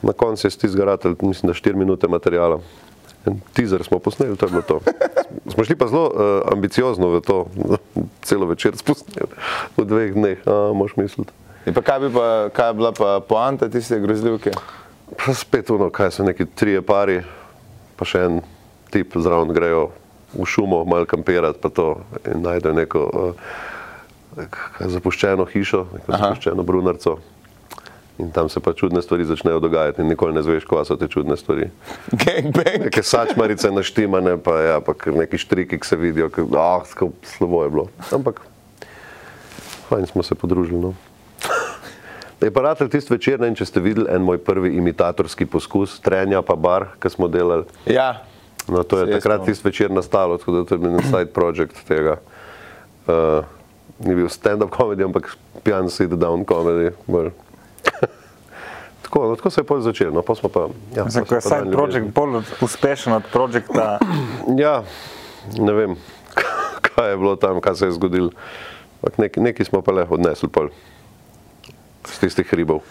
na koncu je stisk garatelj, mislim, da štiri minute materijala. En teaser smo posneli, to je bilo to. Smo šli pa zelo uh, ambiciozno v to, celo večer smo posneli, v dveh dneh, a moš misliti. In pa kaj, bi pa kaj je bila pa poanta tiste grozljivke? Pa spet ono, kaj so neki trije pari, pa še en tip zraven grejo v šumo, malo kampirati, pa to in najdejo neko eh, kaj, zapuščeno hišo, neko Aha. zapuščeno brunarco. In tam se pa čudne stvari začnejo dogajati, in nikoli ne znaš, kva so te čudne stvari. Gangbang. Neke sačmarice naštimane, pa, ja, pa kar neki štriki, ki se vidijo, ki, ah, kako slabo je bilo. Ampak fajn smo se podružili. No. Je pa ratelj tisti večer, ne vem, če ste videli en moj prvi imitatorski poskus, trenja pa bar, ki smo delali. Ja. No, to je Se jaz takrat spomnim. tisti večer nastalo, tako da to je bil en side project tega. Uh, ni bil stand-up komedij, ampak pijan sit-down komedij. bolj. tako, no, tako se je pol začelo, no, pa smo pa. Ja, Mislim, pol ko je smo pa saj dan projekt ljubezni. bolj uspešen od projekta, Ja, ne vem, kaj je bilo tam, kaj se je zgodilo. Ampak nek- Nekaj smo pa le odnesli pol z tistih hribov.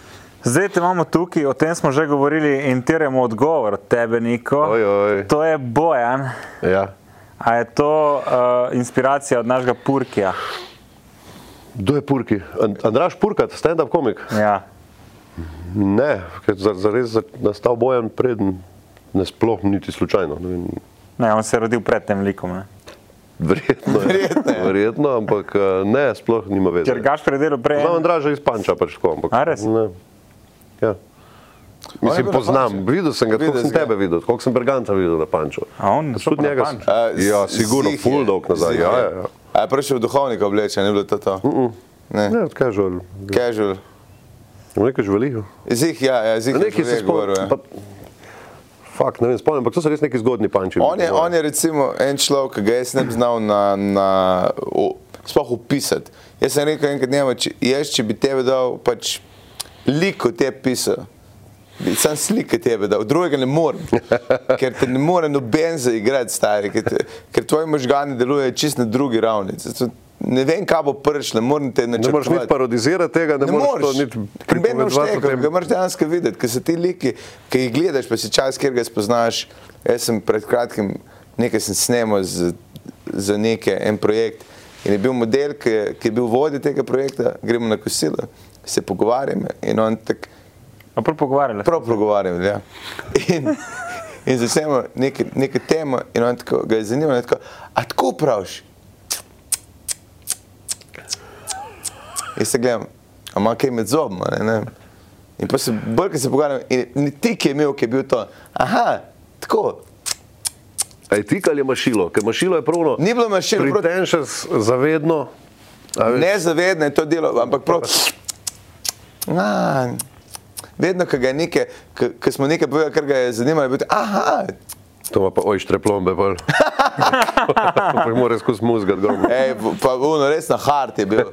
Zdaj te imamo tukaj, o tem smo že govorili in terjamo odgovor od tebe, Niko. Ojoj. To je Bojan. Ja. A je to uh, inspiracija od našega Purkija? Kdo je Purki? An- Andraš Purkat, stand-up komik. Ja. Ne, ker za, za res za, nastal bojem preden, ne sploh niti slučajno. Ne vem, Ne, on se je rodil pred tem likom. Ne? verjetno, je, Verjetno je. verjetno, ampak eh, ne, sploh nima veze. Ker gaš predelo prej. Znam Andraža iz Panča, pač tako. Ampak, A, res? Ne, ja. Mislim, bil na poznam, Panču? videl sem ga, Videl koliko sem si ga? tebe videl, koliko sem Berganca videl na Panču. A on Jaz so tudi pa na njega. A, Panču? sem- Ja, eh, z- sigurno, zih je, full dolg nazaj. zih Ja, je. ja, ja. A je prišel duhovnik oblečen, ni bilo to to? Ne. Ne, odkažel. Casual. Nekaj živalijo. Zih, ja, ja zih je Nekaj se že govoril. spomnim. ja. pa- Fak, ne vem, spomnim, ampak to so res neki zgodni panči. On je, on je recimo en človek, ki ga jaz ne bi znal na, na, o, sploh opisati. Jaz sem rekel enkrat njemu, če, jaz če bi tebe dal, pač liko te pisal. bi Sam slike tebe, da drugega ne morem, ker te ne more noben zaigrati, stari, ker, te, ker tvoji možgani delujejo čist na drugi ravni. Zato Ne vem, kaj bo prišlo, ne morem te Ne moreš niti načrtovati. parodizirati tega, ne, Ne moreš moreš, to niti pripovedovati primerno o šteko, tem. ga moraš dejansko videti, ker so ti liki, ki jih gledaš, pa si čas, kjer ga spoznaš. Jaz sem pred kratkim nekaj sem snemal z, za neke, en projekt in je bil model, ki je, ki je bil vodja tega projekta, gremo na kosilo, se pogovarjamo in on tako No, prav pogovarjali. prav pogovarjamo. Ja. In, in začnemo neke, neke teme in on tako, ga je zanimalo, tako, a tako praviš? Jaz se gledam, a ima kaj med zobma. Ne, ne. In pa se bolj, ki se pogovarjam, in ni ti, ki je imel, ki je bil to. Aha, tako. A je tik ali je mašilo? Ker mašilo je pravno. Ni bilo mašilo, prav- Pritenše zavedno. a veš. Nezavedno je to delo, ampak prav. A, vedno, ko ga je nekaj, ko ko smo nekaj povedali, kar ga je zanimalo, je bilo, aha, To ima pa ojštre plombe. bolj. Pa jih mora skozi muzgat. Ej, pa ono, res na hart je bil.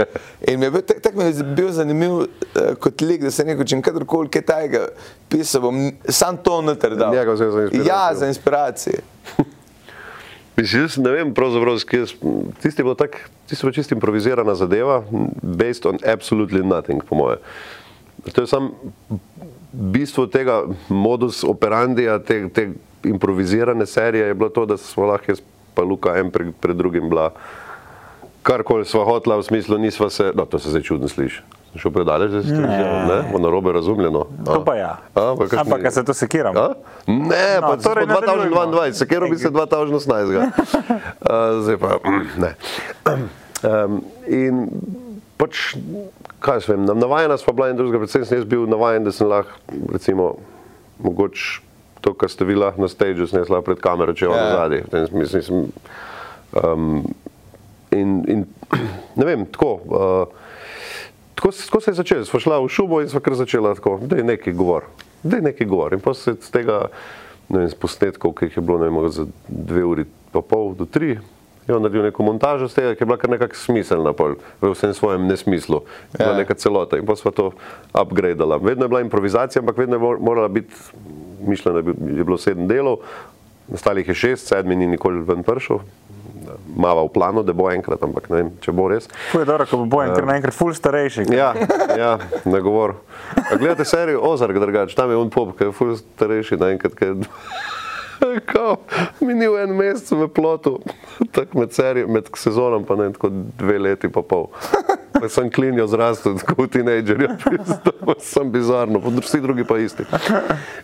In mi je bil tako tak mi je bil zanimiv eh, kot lik, da se neko, če bom kadarkoli kaj tajega pisal, bom n- sam to noter dal. Njega vzel za inspiracijo. Ja, za inspiracije. Mislim, jaz ne vem, pravzaprav, s kje sem- tisti je bilo tako, tisti je čisto improvizirana zadeva, based on absolutely nothing, po moje. To je sam bistvo tega modus operandija, te, te improvizirane serije, je bilo to, da smo lahko jaz pa Luka en pred, pred drugim bila. Karkoli sva hotla, v smislu nisva se, no to se zdaj čudno sliši. Sem Šel predaleč, zdaj se to ne, bo narobe razumljeno. To pa ja. No. A, pa kakšni- Ampak, ker se to sekiram. A? Ne, no, No, pa torej torej smo nadaljujmo. 2022, sekero bi se 2018. Uh, zdaj pa ne. Um, in pač, kaj jaz vem, nam navajena smo bila in drugega, predvsem sem jaz bil navajen, da sem lahko, recimo, mogoče to, kar ste vi lahko na stageu, sem jaz lahko pred kamero, če je Ja. ona zadnji. Mislim, sem, in, in ne vem, tako. Uh, Tako, se- tako se je začelo, smo šla v šumo in smo kar začela tako, da je nekaj govor, da je nekaj govor. In pa se iz tega, ne vem, iz posnetkov, ki jih je bilo ne vem, za dve uri pa pol do tri, je on naredil neko montažo z tega, ki je bila kar nekako smiselna, pol, v vsem svojem nesmislu, je bila Ja. neka celota in pa smo to upgradala. Vedno je bila improvizacija, ampak vedno je mor- morala biti, mišljeno je bil- je bilo sedem delov, nastalih je šest, sedmi ni nikoli ven pršel, mava v planu, da bo enkrat, ampak ne vem, če bo res. Fuje dobro, ko bo bojen, ker naenkrat ful starejši. Ja, ja na govor. A Gledate serijo Ozark, drugače, tam je on pop, ki je ful starejši, naenkrat. ki je- Kao, Minil je en mesec v plotu, tako med, serij, med sezonom, pa ne tako dve leti pa pol. Pa sem klinil zrastel, tako tinejdžer, sem bizarno, pa vsi drugi pa isti.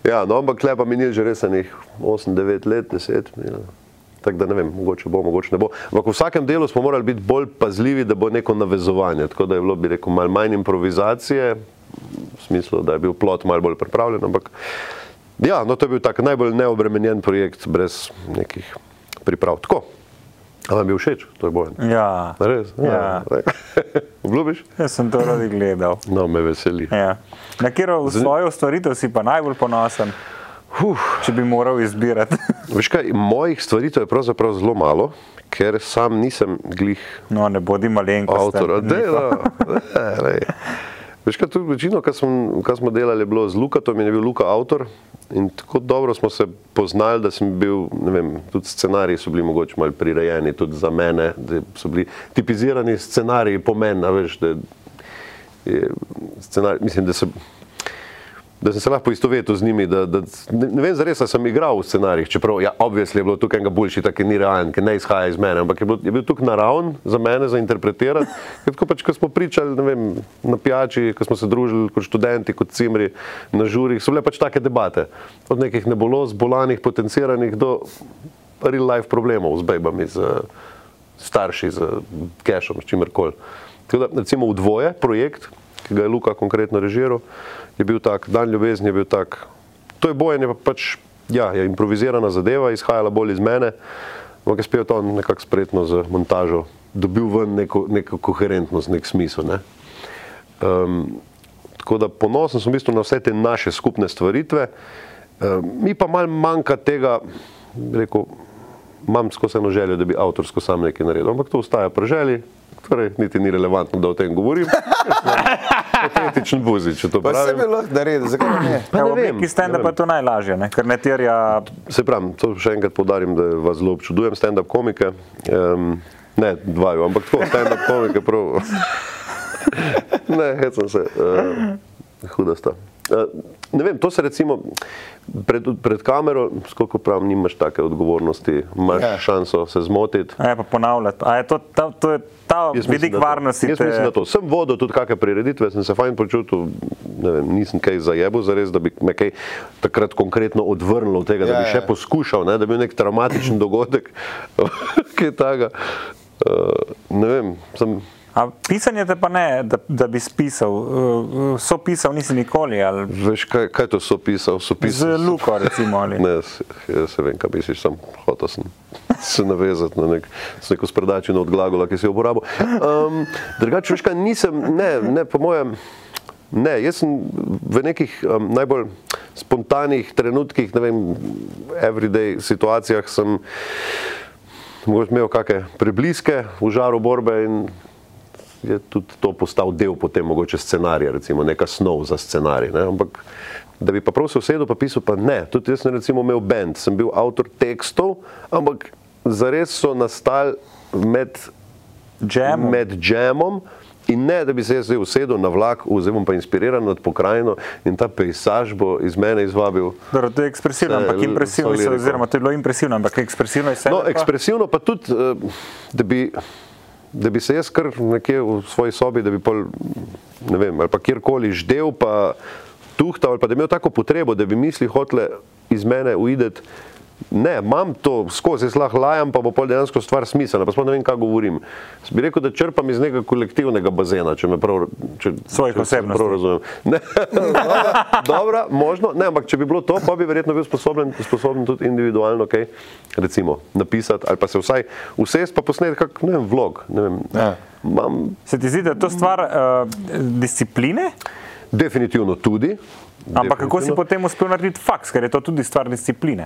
Ja, no, ampak lepa minil že res enih 8-9 let, 10. Ja. Tako da ne vem, mogoče bo, mogoče ne bo. Ampak v vsakem delu smo morali biti bolj pazljivi, da bo neko navezovanje. Tako da je bilo, bi rekel, malo manj improvizacije, v smislu, da je bil plot malo bolj pripravljen. Ampak ja, no, to je bil tak najbolj neobremenjen projekt, brez nekih priprav. Tako. Ali vam je bil všeč, to je bojen. Ja. Res? Ja. Obljubiš? Jaz sem to radi gledal. No, me veseli. Ja. Na katero v svojo stvaritev si pa najbolj ponosen, Huh. če bi moral izbirati? Veš kaj, mojih stvari to je pravzaprav zelo malo, ker sam nisem glih No, ne bodi malenko. avtor. Dela, dela. Veš, kaj, tudi večino, kar smo, kar smo delali, je bilo z Lukatom in je bil Luka avtor. In tako dobro smo se poznali, da sem bil, ne vem, tudi scenariji so bili mogoče malo prirejeni, tudi za mene, da so bili tipizirani scenariji po meni, a veš, da je scenarij, mislim, da se da sem se lahko istovetil z njimi. Da, da, ne, ne vem, zares da sem igral v scenarijih, čeprav ja, obvisli je bilo tukaj nekaj boljši, tak, ki ni realen, ki ne izhaja iz mene, ampak je, bilo, je bil tukaj naraven za mene, za interpretirati. Je Tako pač, ko smo pričali ne vem, na pijači, ko smo se družili kot študenti, kot cimri na žurih, so bile pač take debate. Od nekih neboloz, bolanih, potenciranih do real life problemov z bebami, z eh, starši, z cashom, s čimer koli. Tako da, recimo, v dvoje projekt, ki ga je Luka konkretno režiral, je bil tak, dan ljubezni je bil tak. To je bojanje, pa pač ja, je improvizirana zadeva, izhajala bolj iz mene, ampak je spet on nekako spretno z montažo dobil ven neko, neko koherentnost, nek smisel. Ne? Um, tako da ponosen sem v bistvu na vse te naše skupne stvaritve. Um, mi pa malo manjka tega, bi rekel, imam skozi eno željo, da bi avtorsko sam nekaj naredil, ampak to ostaja pri želji, torej niti ni relevantno, da o tem govorim. Patetičen buzi, če to Pa se pravim. bi lahko naredil, zakaj pa ne? Pa ne Ja, v vem, obliki stenda ne pa je to najlažje, ne? ker ne terja Se pravi, to še enkrat podarim, da vas zelo občudujem, stand-up komike. Um, ne, dvajo, ampak tako, stand-up komike, prav. ne, hecam se. Uh, huda sta. Uh, ne vem, to se recimo pred, pred kamero, skoko pravim, nimaš take odgovornosti, imaš Ja. ja. šanso se zmotiti. A je pa ponavljati. A je to, ta, to je ta Jaz mislim, vidik da to- varnosti. Jaz te- mislim, da to. Sem vodil tudi kakšne prireditve, sem se fajn počutil, ne vem, nisem kaj zajebo, zares, da bi me kaj takrat konkretno odvrnilo od tega, ja, da Ja, bi še ja. poskušal, ne, da bi bil nek traumatičen dogodek, kaj takega. Uh, ne vem, sem. A pisanje te pa ne, da, da bi spisal. uh, So pisal nisi nikoli. Ali... Veš, kaj, kaj to so pisal? So Z pisal Luko, recimo. Ali. Ne, jaz, jaz se vem, kaj misliš, sem hotel sem se navezati na nek, s neko spredačino od glagola, ki si jo uporabil. Um, drugače, veš, kaj nisem, ne, ne, po mojem. Ne, jaz sem v nekih um, najbolj spontanih trenutkih, ne vem, everyday situacijah sem mogoče imel kakšne prebliske v žaru borbe in je tudi to postal del potem mogoče scenarija, recimo neka snov za scenarij. Ne? Ampak da bi pa prav se usedel pa pisal, pa ne. Tudi jaz sem recimo imel bend, sem bil avtor tekstov, ampak zares so nastali med, Džem. med džemom. In ne, da bi se jaz zdaj usedel na vlak, zdaj bom pa inspiriran nad pokrajino in ta pejsaž bo iz mene izvabil Dobro, to je ekspresivno, Vse je ampak l- impresivno, so mislim, liriko. oziroma to je bilo impresivno, ampak ekspresivno je vse. No, ekspresivno pa tudi, eh, da bi, da bi se jaz kar nekje v svoji sobi, da bi pol, ne vem, ali pa kjerkoli ždel, pa tuhtal, ali pa da bi imel tako potrebo, da bi misli hotele iz mene uideti. Ne, imam to skozi, jaz lahko lajam, pa bo pol dejansko stvar smiselna, pa sploh ne vem, kaj govorim. Jaz Bi rekel, da črpam iz nekega kolektivnega bazena, če me prav, če, Svojih če se osebnosti. prav razumem. Ne, dobro, dobro, možno, ne, ampak če bi bilo to, pa bi verjetno bil sposoben, sposoben tudi individualno kaj recimo, napisati ali pa se vsaj usesti pa posneti kak, ne vem, vlog. Ne vem. Ja. Imam Se ti zdi, da je to stvar uh, discipline, definitivno tudi. ampak kako si definitivno. potem uspel narediti faks, ker je to tudi stvar discipline.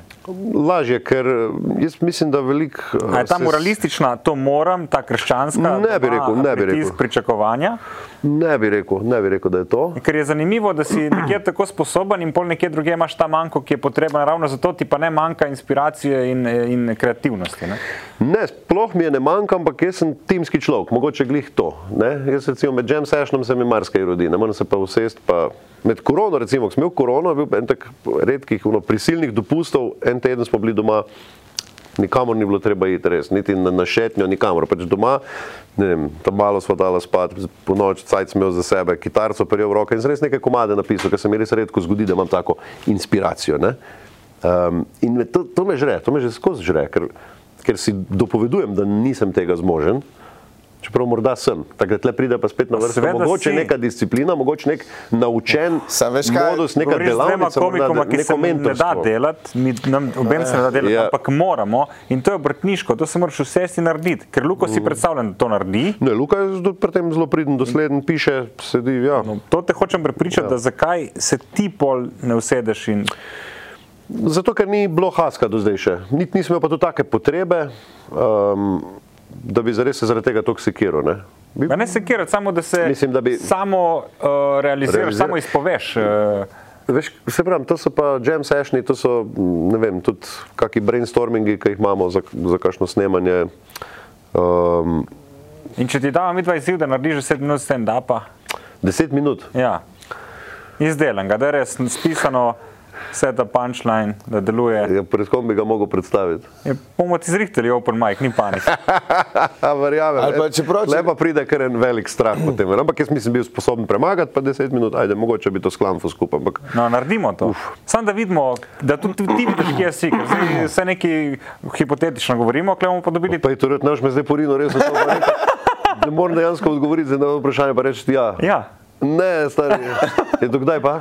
Lažje, ker eh, jaz mislim, da veliko. eh, A je ta moralistična, to moram, ta krščanska, No, Ne bi da ima rekel, ne bi pritisk rekel. pričakovanja. Ne bi rekel, ne bi rekel, da je to. Ker je zanimivo, da si nekje tako sposoben in pol nekje drugje imaš ta manjko, ki je potreben ravno zato, ti pa ne manjka inspiracije in, eh, in kreativnosti. Ne? Ne, sploh mi je ne manjka, ampak jaz sem timski človek, mogoče glih to. Ne? Jaz recimo med jam sešnom se mi marsikaj rodi, ne morem se pa usesti. Pa med korono, recimo, ko sem imel korono, je bil en tak redkih ono, prisilnih dopustov, en teden smo bili doma. Nikamor ni bilo treba iti, res, niti na, na šetnjo, nikamor. Pač doma, ne vem, tam malo smo dala spat, po noč, cajt sem imel za sebe, kitarico prijel v roke in sem res nekaj komade napisal, ker se mi res redko zgodi, da imam tako inspiracijo. Ne? Um, in me to, to me žre, to me že skozi žre, ker, ker si dopovedujem, da nisem tega zmožen. Čeprav morda sem, takrat le pride pa spet na vrsto. Seveda Mogoče si. neka disciplina, mogoče nek naučen Sam veš kaj, modus, neka Govoriš z dvema delavnica, morda komikoma, de- ki se neko mi ne da mentorstvo. delati, mi, nam, obem se ne da delati, Ja. ampak moramo in to je obrtniško, to se moraš vsesti narediti, ker Luko Mm. si predstavlja, da to naredi. Ne, Luka je do- pri tem zelo pridn, dosleden, piše, sedi. Ja. To te hočem prepričati, Ja. da zakaj se ti pol ne usedeš in Zato, ker ni bilo haska do zdaj še. Niti nisem imel pa tu take potrebe, um, da bi zares se zaradi tega toksikiral. ne. Bi- Ma ne sekirati, samo da se Mislim, da bi- samo uh, realiziraš, Realizira- samo izpoveš. Uh, Veš, se pravi, to so pa jam sešni, to so mm, ne vem, tudi kakšni brainstormingi, ki jih imamo za, za kakšno snemanje. Um, in če ti damo mi dva izziv, da narediš 10 minut stand-upa, deset minut. ja. izdelan, da je res spisano, vse ta punčline, da deluje. Ja, pred kom bi ga mogel predstaviti? Je, bomo ti zrihtali open mic, ni panike. A, verjamem. Ali pa čeprav, če- če... Lepa pride kar en velik strah potem. Ampak jaz nisem bil sposoben premagati, pa 10 minut, ajde, mogoče bi to sklamfo skupaj. Ampak No, naredimo to. Samo da vidimo, da tudi ti vidiš, kje si. ker zdaj Vse neki hipotetično govorimo, kaj bomo pa dobili. pa je to red, naš me zdaj porino, res ne morem. Ne morem dejansko odgovoriti na vprašanje, pa reči ja. Ja, Ne, stari. Je dokdaj pa?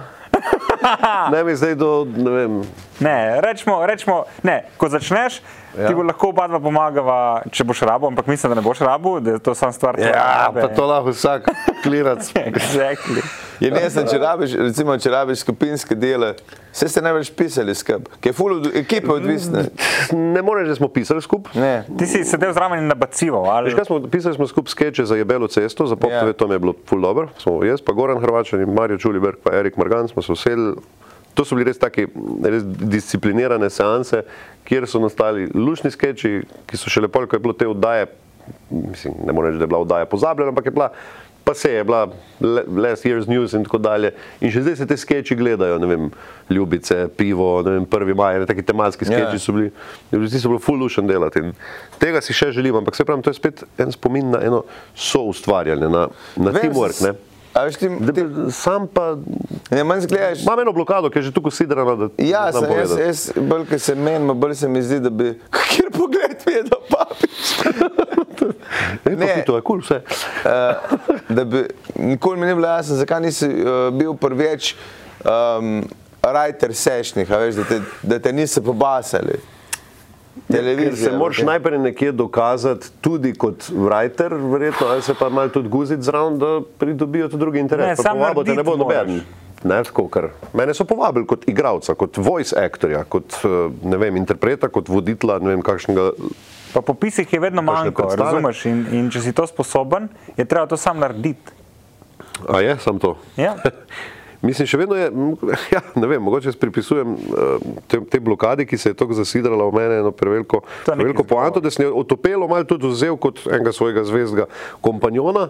Ne, mi zdaj do, ne vem, ne, rečemo, rečemo ne, ko začneš, ja. ti Ja. bo lahko oba dva pomagava, če boš rabo, ampak mislim, da ne boš rabo, da je to samo stvar tvoje Ja, rabe. pa to lahko vsak klirac. Ja. Exactly. Je ne, sem, če rabiš, recimo, če rabiš skupinske dele, vse ste največ pisali skup, ki je full od ekipe odvisna. Ne moreš, da smo pisali skupaj. Ne. Ti si sedel zraven in nabacival, ali Veš, kaj smo pisali, smo skupaj skeče za jebelo cesto, za pop, Ja. yeah. to mi je bilo ful dobro. Smo jaz, pa Goran Hrvačan, in Marijo Čuliberg, pa Erik Morgan, smo se usedli. To so bili res taki res disciplinirane seanse, kjer so nastali lušni skeči, ki so še lepo, ko je bilo te oddaje, mislim, ne morem reči, da je bila oddaja pozabljena, ampak je bila, pa se je bila le- Last Year's News in tako dalje. In še zdaj se te skeči gledajo, ne vem, ljubice, pivo, ne vem, prvi maj, ne, taki tematski Ja. skeči so bili, vsi so bili full lušen delati. In tega si še želim, ampak se pravi, to je spet en spomin na eno soustvarjanje, na, na teamwork. Ne? A veš, ti, Da, ti pa- sam pa ne manj zgledaš. imam eno blokado, ki je že tukaj sidrana. Da, Ja, ne znam sem, jaz, povedati. jaz bolj, ko se menim, bolj se mi zdi, da bi kjer pogled vedel, papič. Ej, pa ne. fito je kul, vse. Eh, da bi nikoli mi ni bilo jasno, zakaj nisi uh, bil prvič um, writer sešnih, a veš, da te, da te niso pobasali. Ker Televizija. se moraš najprej nekje dokazati, tudi kot writer, verjetno, ali se pa malo tudi guziti zraven, da pridobijo tudi drugi interes. Ne, Pa samo povabo te ne bo narediti noben. moraš. Ne, tako, ker mene so povabili kot igralca, kot voice actorja, kot eh, ne vem, interpreta, kot voditelja, ne vem kakšnega. pa po pisih je vedno Kakšne manjko, predstave? razumeš? In, in če si to sposoben, je treba to sam narediti. A je, sam to. Ja. Mislim, še vedno je, m, ja, ne vem, mogoče jaz pripisujem eh, te, te blokade, ki se je tako zasidrala v mene, eno preveliko, To je neki preveliko poanto, da sem jo otopelo malo tudi vzel kot enega svojega zvezdga kompanjona.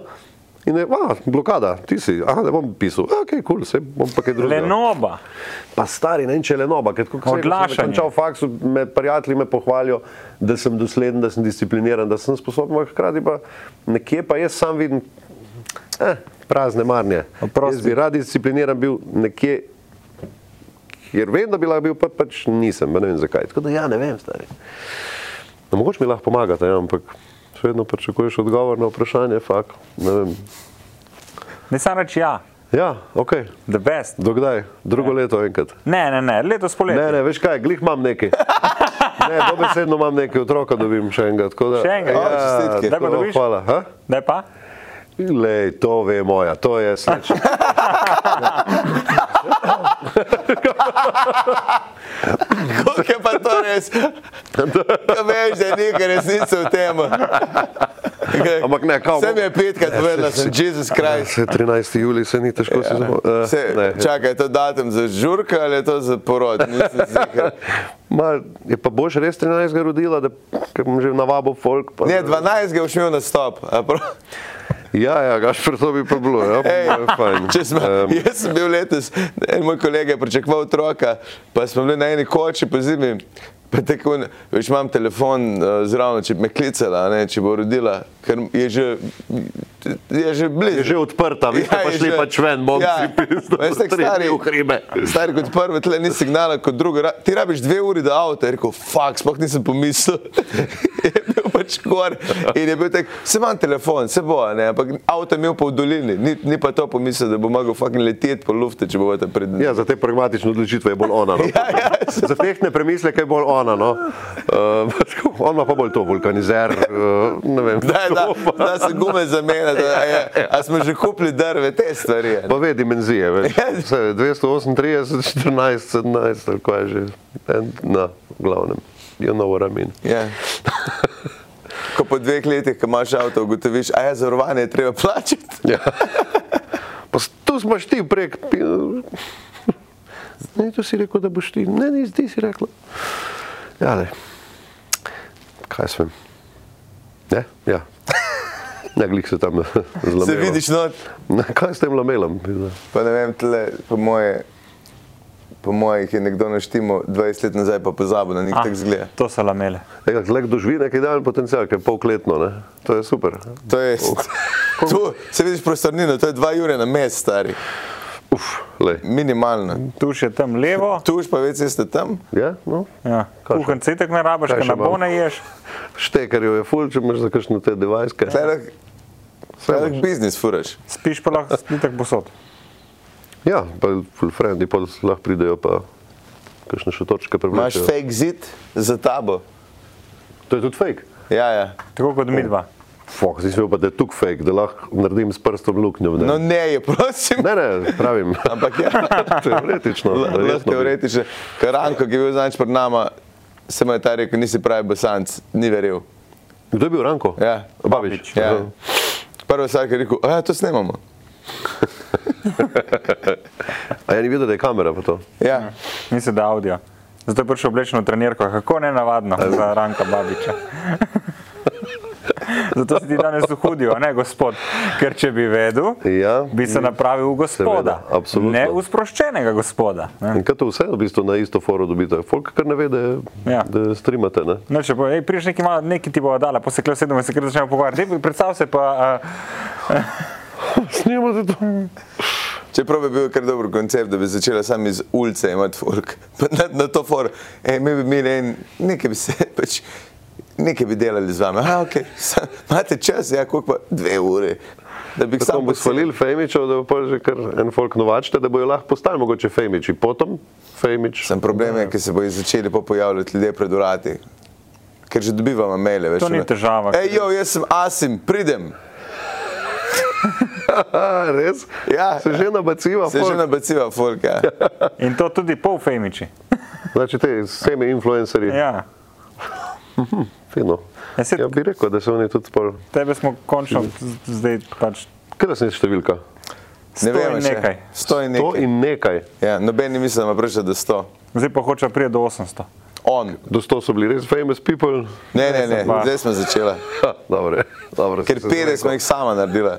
In je, a, blokada, ti si, a ne bom pisal, a, ok, kul, cool, se bom pa kaj drugega. no, Lenoba. Pa stari, ne vem, če lenoba, ker kot sem Odlašanje. končal faks, me prijatelji me pohvalijo, da sem dosleden, da sem discipliniran, da sem sposoben, ampak hkrati pa nekje pa jaz sam vidim eh, prazne marnje. Oprosti. Jaz bi rad discipliniran bil nekje, kjer vem, da bi lahko bil, pa pač nisem, pa ne vem zakaj. Tako da ja, ne vem, stari. No, mogoče mi lahko pomagate, ja, ampak še vedno pričakuješ odgovor na vprašanje, fakt, ne vem. Ne samo reči ja, Ja, ok, the best. dokdaj, drugo leto enkrat. Ne, ne, ne, letos poletje. Ne, ne, veš kaj, glih imam nekaj. Ne, dobesedno imam nekaj otroka, dobim še enega. tako Da, Še enega? Ja, O, čestitke. Daj pa tako, dobiš? Hvala. ha? Daj pa. Lej, to ve moja, to je sleč. Koliko je pa to res? Kaj veš, da je nekaj resnice v tem. Kaj- Ampak ne, kao- Ja, Sem je petkrat povedal, sem Jezus Krist. Se 13. Ja, julij, se eh, ni težko si Se, zapomniti. čakaj, je to datum za žurka ali je to za porod? Nisem ziger. Mal, je pa boš res 13. rodila, da ker bom že navabo folk. Pa, Ne, 12 ga je šel na stop. Ja, ja, gaš, to bi pa bilo. Ja, Ej, Ej, fajn. če smo, Em, jaz sem bil letos, en moj kolega je pričakoval otroka, pa smo bili na eni koči po zimi. Pa tako, več imam telefon eh, zraven, če bi me klicala, a ne, če bo rodila, ker je že, je že blizu. je že odprta, vi ste Ja, pa je šli že- pač ven, bom Ja. si pisal. Veste, kako stari- v hribe. Stari kot prvi, tle ni signala, kot drugo. Ra- Ti rabiš dve uri do avta, je rekel, faks, sploh nisem pomislil. je bil pač gor in je bil tak, se imam telefon, se bo, a ne, ampak avto je imel pa v dolini, ni, ni pa to pomislil, da bo mogel fucking leteti po lufte, če bo ta pred njim. Ja, za te pragmatične odločitve je bolj ona. No. Ja, ja. Za tehtne premisleke je bolj ona. No. Uh, on ima pa bolj to vulkanizer. Uh, ne vem, Da, da, to pa- da se gume zamenja, da je, a smo že kupili drve, te stvari. a ne. Pa ve dimenzije, veš. Ja. Vse, 238, 14, 17, ali kaj že. En, Na glavnem, je novo ramin. Ja. Ko po dveh letih, ko imaš avto, ugotoviš, a je zavarovanje je treba plačati. Ja. Pa s- tu smo šli prek. pi- Ne, tu si rekel, da boš ti. Ne, ne, ti si rekel. Ja, ne. Kaj sem? Ne, ja. Ne, glih se tam zlomil. Se vidiš, no, Kaj s tem lamelom? pa ne vem, tle, po moje. Po mojih je nekdo naštimo 20 let nazaj, pa pozabil na njih Ah, tak zgled. To so lamele. Ega, tle, kdo živi neki dan potencial, ki je polkletno, ne? to je super. To je. Tu se vidiš prostornino, to je 2 ure na mest, stari. Uf, lej. Minimalno. Tu še tam levo, Tu už pa več ste tam. Ja, no. ja. Kaj še? kuhan cetek ne rabiš, Kaj ker še na bone imam? ješ. Štekarjev je ful, če imaš za kakšne te devajske. Velik biznis furaš. Spiš pa lahko spitek posod. Ja, pa ful frendi, pa lahko pridejo pa kakšne še točke Imaš prevlečejo. fake zid za tabo. To je tudi fake. Ja, ja. Tako kot midva. Fok, si smel pa, da je tuk fake, da lahko naredim s prstom luknjo. Ne, No, ne, je, prosim. ne, ne pravim. Ampak ja, Teoretično. lahko verjetno bi. teoretično. Ker Ranko, ki je bil zanč pred nama, se mu je ta rekel, nisi pravi bosanc, ni verjel. Kdo je bil Ranko? Ja. Babič. Ja. Prva stvar, ki je rekel, ja, to snemamo. A ja ni videl, da je kamera pa to. Ja. Mislim, da avdio. Zato je prišel oblečen v trenirko, kako ne navadno za Ranka Babiča. Zato si ti danes uhudil, a ne gospod. Ker če bi vedel, Ja, bi se napravil v gospoda. Seveda, absolutno. ne v sproščenega gospoda. Ne? In kaj to vse v bistvu na isto forum dobite? Folk, kar ne ve, da, Ja. ja. da streamate. Ne? No, če bo, ej, priješ neki malo, neki ti bo dala, posekle sedem in se kar začnemo pogovarjati. Ej, Predstav se pa, Snimate to. Čeprav bi bil kar dober koncept, da bi začela sam iz ulice imeti folk. Pa Na, na to for, e, mi bi imeli en, nekaj bi se pač. Nekaj bi delali z vami, a ok, Sa- imate čas, ja, koliko pa dve ure. Da bi jih Sam sam bo posel- svalil Femičev, da bo pa že kar en folk novačte, da bojo lahko postali mogoče Femiči. Potom Femič. Sem problem Ja. je, ker se bodo začeli pa pojavljati ljudje pred urati. Ker že dobivamo maile, veš. To ni ono, težava, Ej, ker- jo, jaz sem Asim, pridem. A, res? Ja. Se že nabaciva. Se že folk. nabaciva, ja. folka. a, in to tudi pol femiči. Znači te semi influencerji. Ja. Ja, Fino. Ja, se- Ja, bi rekel, da so oni tudi pol. tebe smo končno z- zdaj pač. Kaj da se je številka? Ne sto vem, in še. nekaj. Sto in To nekaj. in nekaj. Ja, noben ni mislil, da ima prišel do sto. Zdaj pa hoče priti do 800. On. Do 100 so bili res famous people. Ne, ne, ne, Zdaj sem pa- zdaj smo začela. Ha, dobre, dobre, Ker pere smo jih sama naredila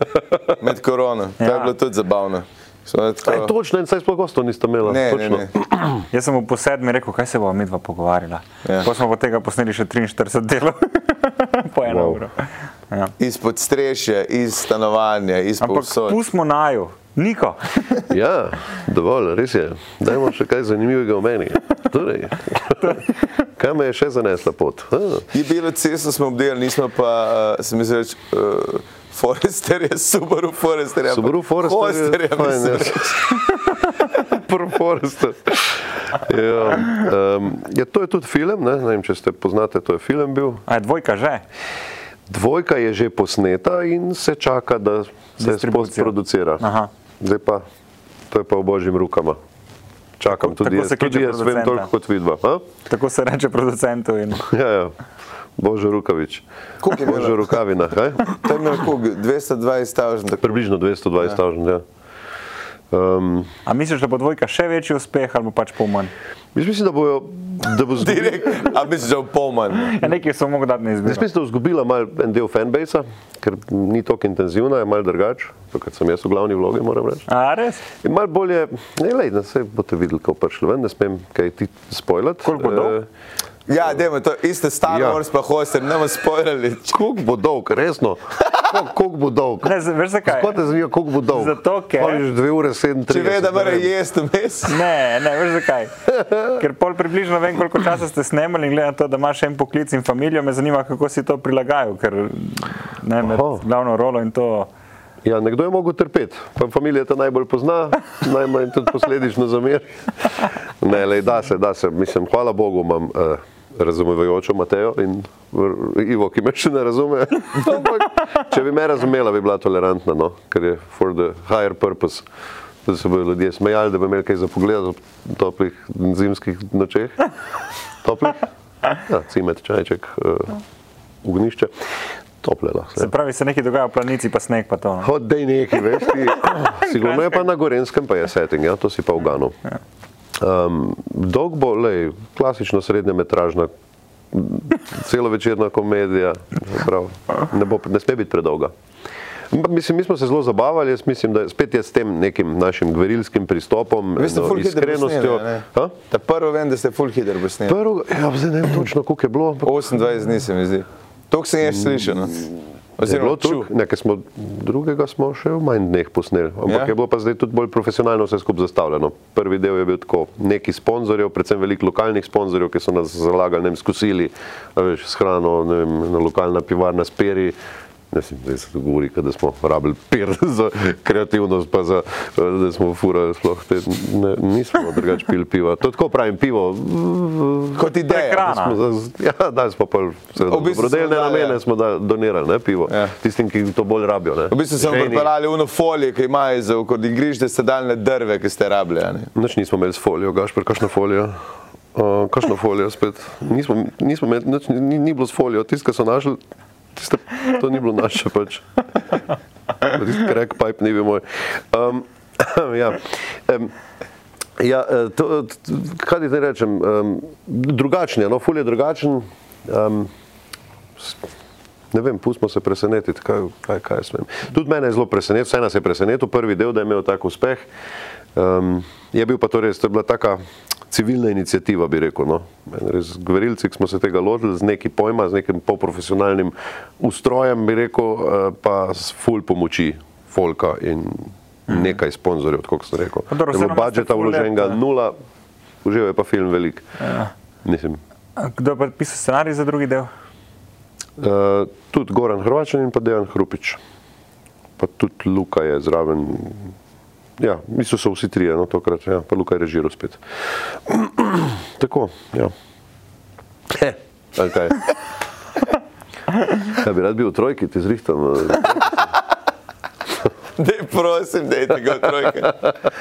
med korono. To je Ja. bilo tudi zabavno. Smo imeli Aj, Tako, točno, en saj sploh gostov niste imeli. ne, ne, točno. ne. Jaz sem mu po sedmi rekel, kaj se bomo midva pogovarjala. Ja. Ja. Pa smo po tega posneli še 43 delov, po eno Wow. wow. uro. Ja. Izpod strešja, iz stanovanja, iz Ampak povsod. pustimo naju, niko. Ja, dovolj, res je. Dajmo še kaj zanimivega o meni. Torej, kaj me je še zanesla pot? Ha, Je bilo cesto, smo obdelali, nismo pa, uh, se mi zdi, uh, Forester je super, Forester je Subaru Forester je Forester Ja, je fajn, ja. mislim. Prvo Forrester. Ja, um, ja, to je tudi film, ne? ne vem, če ste poznate, to je film bil. A je dvojka že? Dvojka je že posneta in se čaka, da se Distribucija. producira. Aha. Zdaj pa, to je pa v božjim rokama. Čakam, Tako- tudi tako jaz, se kliče tudi jaz vem producenta. toliko kot vidva. a? Tako se reče producentu. In... Ja, ja. Božo Rukavič. Koliko je bilo? Božo Rukavina, kaj? To je imel kog, 220 tažen, tako Približno 220 tažen, ja. Um, A misliš, da bo dvojka še večji uspeh ali bo pač pol manj? jaz mislim, da, bojo, da bo zgubila, direkt, a misliš, da je polman. Ja, nekaj so mogli dati na jaz izbiro. mislim, da bo zgubila mal en del fanbase, ker ni tako intenzivna, je mal drugač, kot sem jaz v glavni vlogi, moram reči. A res? In mal bolje, ne lej, da se boste videli, kako prišlo ven, ne smem kaj ti Eh, spoilati. Koliko bo dolg? Ja, dajmo to, iste Star Ja. Wars pa Hoster, ne bomo spoilerili. Koliko bo dolg, resno? Koliko koliko bo dolg? Ne, z- veš zakaj? Kako te zanima, koliko bo dolg? Zato, ker- Oni že 2 ure 37. Če ve, da mora jesti vmes. Ne, ne, veš zakaj. Ker pol približno vem, koliko časa ste snemali in glede na to, da imaš en poklic in familijo, me zanima, kako si to prilagajal, ker ne, med Aha. glavno rolo in to. Ja, nekdo je mogel trpeti, pa familija te najbolj pozna, najmanj tudi posledično zameri. Ne, lej, da se, da se. Mislim, hvala Bogu imam uh, razumevajočo Matejo in r- Ivo, ki me še ne razume. Ampak, če bi me razumela, bi bila tolerantna, no? ker je for the higher purpose. Da se bodo ljudje smejali, da bi imeli kaj za pogled ob toplih zimskih nočeh. Toplih? Ja, cimet, čajček, uh, ugnišče. Tople lahko. ja. Se pravi, se nekaj dogaja v planici, pa sneg pa to. No. Hodej neki, veš ti. Sigurno je pa na Gorenskem, pa je setting, ja, to si pa v Ganu. Um, dolg bo, lej, klasično srednjemetražna, celovečerna komedija, se pravi, ne, bo, ne sme biti predolga. M- Mislim, mi smo se zelo zabavali, jaz mislim, da spet je s tem nekim našim gverilskim pristopom, Vi ste eno full hitro No, iskrenostjo. posneli, Ha? Ta prvo vem, da ste full hitter posneli. Prvo, ja, zdaj ne vem točno, koliko je bilo. ampak 28 dni se mi zdi. To sem jaz slišal. No. Je bilo Oziroma, čutil. tudi, nekaj smo, drugega smo še v manj dneh posneli, ampak Ja. ja. je bilo pa zdaj tudi bolj profesionalno vse skupaj zastavljeno. Prvi del je bil tako, neki sponzorjev, predvsem veliko lokalnih sponzorjev, ki so nas zalagali, ne vem, skusili, a veš, s hrano, ne vem, na lokalna pivarna speri. Ne, mislim, zdaj se tu govori, kot da smo rabili pir za kreativnost, pa za, eh, da smo furali sploh te, ne, nismo drugače pili piva. To tako pravim, pivo, Kot ideja. no. Prekrasno. Smo za- Ja, dali smo pa seveda V bistvu dobrodelne smo dali, namene, ja. smo da, donirali ne, pivo. Ja. Tistim, ki to bolj rabijo. Ne. V bistvu sem Ženi. pripeljal uno folijo, ki imajo za okoli igrišče, ste dali na drve, ki ste rabljali. Nič nismo imeli s folijo, gašpr, kakšno folijo. Uh, kakšno folijo spet? Nismo, nismo imeli, nič, ni, ni- ni bilo s folijo, tisto, kar so našli, tiste, to ni bilo naše pač. Tisti crack pipe ni bil moj. Um, ja. Um, Ja, eh, to, t- kaj ti naj rečem, um, drugačen je, no, ful je drugačen. Um, Ne vem, pustimo se presenetiti, kaj, kaj, kaj smem. Tudi mene je zelo presenetil, vse nas je presenetil, prvi del, da je imel tak uspeh. Um, je bil pa to res, to je bila taka civilna inicijativa, bi rekel. No. En Res, gverilci ki smo se tega lotili z neki pojma, z nekim polprofesionalnim ustrojem, bi rekel, eh, pa s full pomoči folka in nekaj sponzorjev, tako kot sem rekel. Mhm. dobro, Je bilo vseeno imate budžeta ful let, vloženega ne. nula, uživo je pa film velik. Ja. Mislim, A Kdo je pa pisal scenarij za drugi del? Uh, tudi Goran Hrvačan in pa Dejan Hrupič. Pa tudi Luka je zraven. Ja, mislim, so vsi trije, no tokrat, ja, pa Luka je režiral spet. Tako, ja. Ali kaj? Ja, bi rad bil v trojki, ti zrihtam. eh. Dej, prosim, dejte ga trojke.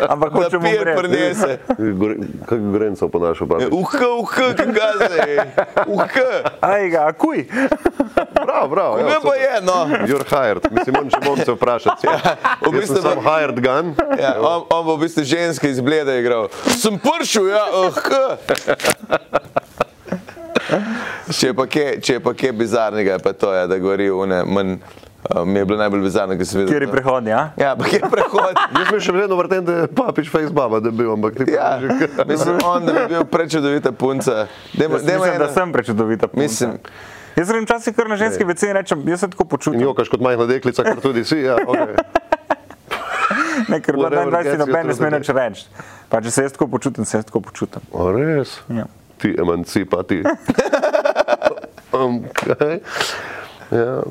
Ampak Da hočemo pijer prinese. Kaj Gorenco ponašal, pa Uh, uh, kaj se. Ja, Uh, Aj ga, a kuj! Prav, ja, prav. kaj pa je, no. You're hired, mislim, on če bom se vprašal. Ja, v Jaz sem bistvu pa- sam hired gun. Ja, on, on bo v bistvu ženske iz bleda igral. Sem pršil, ja, uh, če je pa kje, če je pa kje bizarnega, je pa to je, da govori une, manj, uh, mi je bilo najbolj bizarno, ko sem videl. Kjer je prehodni, a? Ja, pa kje prehod. Jaz sem še vedno vrten, da je papič face baba, da bi bil, ampak ti pa Ja, že kar- mislim, on, da bi bil prečudovita punca. Dajmo, Jaz mislim, eno- da sem prečudovita. punca. Mislim- Jaz grem včasih kar na ženski WC in rečem, jaz se tako In počutim. jokaš kot majhna deklica, kar tudi si. Ja, okay. Ne, ker na Whatever gets you 22 noben ne through sme the nič reči. Pa če se jaz tako počutim, se jaz tako počutim. o, res. Ja. Ti emancipa, ti. Um, kaj? ja.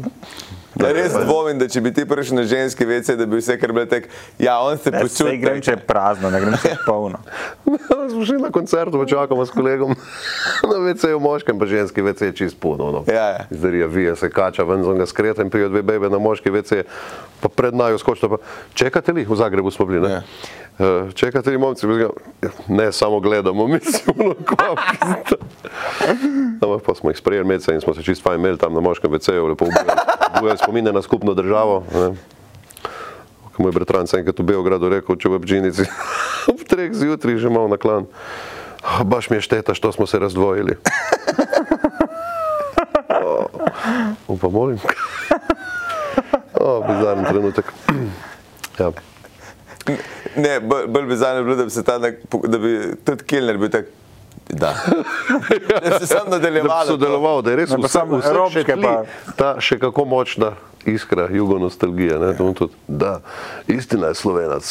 Ja, res dvomim, da če bi ti prišel na ženski vece, da bi vse kar bilo tek. Ja, on se Jaz se počuti. grem, če je prazno, ne grem, če je polno. Smo šli na koncert, pa čakamo s kolegom. Na veceju moškem, pa ženski vece je čist puno. No. Ja, ja. Zdaj je vije, se kača ven z onega skreta in prijo dve bebe na moški vece, pa pred najo skočita. Pa, čekate li? V Zagrebu smo bili. Ja. Ne? Ja. Čekate li, momci? Jaz ga, Ne, samo gledamo, mislimo, kva. Ampak pa smo jih sprejeli mece in smo se čist fajn imeli tam na moškem veceju, lepo ubijali. Bujajo spomine na skupno državo. Ne? Ko mu je bratranc enkrat v Beogradu rekel, če v Bžinici ob treh zjutraj že imel na klan. "Ah, Baš mi je šteta, što smo se razdvojili. O, Upam, molim. O, bizaren trenutek. Ja. Ne, bolj bolj bizarno je bilo, da bi se ta, nek- da bi tudi Kilner bil tak. Da. da se sam Da nadaljeval. bi sodeloval, da je res Ne, pa vse, samo vse še robčke tli, pa- ta še kako močna iskra jugonostalgije. Ne, to on tudi, da, istina je slovenac.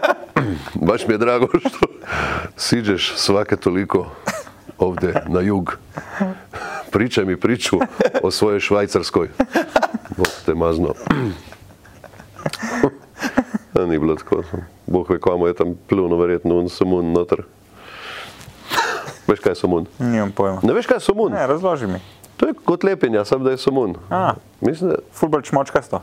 Baš mi je drago, što siđeš svake toliko ovdje na jug. Pričaj mi priču o svojoj Švajcarskoj. Bog te mazno. Ja, Ni bilo tako. Bog ve, kamo je tam pljuno, verjetno, on samun noter. Veš, kaj je samun? Nimam pojma. Ne veš, kaj je samun? Ne, razloži mi. To je kot lepenja, samo da je samun. A. Mislim, da, Fulbol čmočkasto.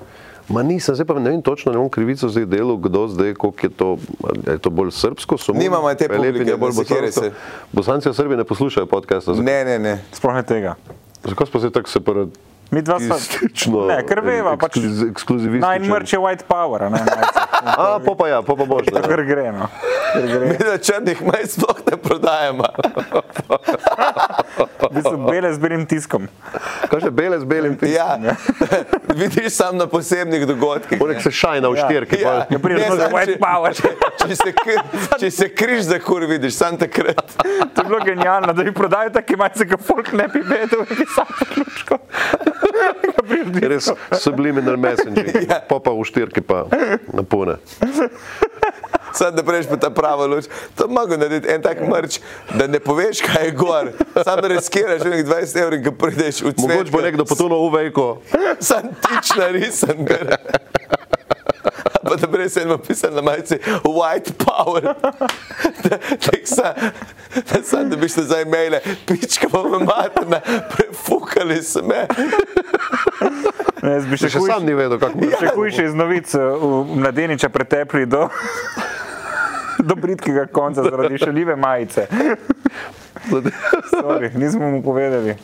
ma nisem, zdaj pa ne vem točno, ne bom krivico zdaj delal, kdo zdaj, koliko je to, ali je to bolj srbsko, samun. Nimamo te pa je publike, lepenja bolj ne sekiraj bosansko. se. Bosanci v Srbiji ne poslušajo podcasta. zakaj- Ne, ne, ne. Sploh ne tega. Zakaj smo se tako separati? Mi dva smo. Istično, Ne, ker veva, pač ekskluzi- ekskluzivističen. Naj mrč je white power, a ne? najc. A, pa pa ja, pa pa boš. To kar gre, no. Kar gre. Mi na črnih maj sploh ne prodajemo. V bistvu bele z belim tiskom. Kaj že bele z belim pismom? Ja, vidiš sam na posebnih dogodkih. ne. Poleg se šajna v Ja. štirki. Ja, Ja. Ja, prideš ne, nazaj, samo white power. Če, če, se, kri- če se križ za kur vidiš, sam takrat. To je bilo genialno, da bi prodajal take majice, kot folk ne bi vedel, ki sam priključko. Ga priždi. Res subliminal messaging, ja. pa pa v štirki pa napune. Sam da prejš pa ta prava luč. To bi mogel narediti en tak mrč, da ne poveš, kaj je gor. Sam riskiraš nekaj 20 evrov in ga prideš v cvet. Mogoče bo nekdo potonil v vejko. Sam tič narisan. gor. Pa da prej sem napisal na majici White Power. Da, da, sa, da, sam, da bi šli zdaj maile, pička pa me matna, prefukali se me. Ne, jaz bi še Še hujše- sam ni vedel, kako je. Ja. Še hujše iz novic, eh, v mladeniča pretepli do, do britkega konca zaradi šaljive majice. Sorry, nismo mu povedali.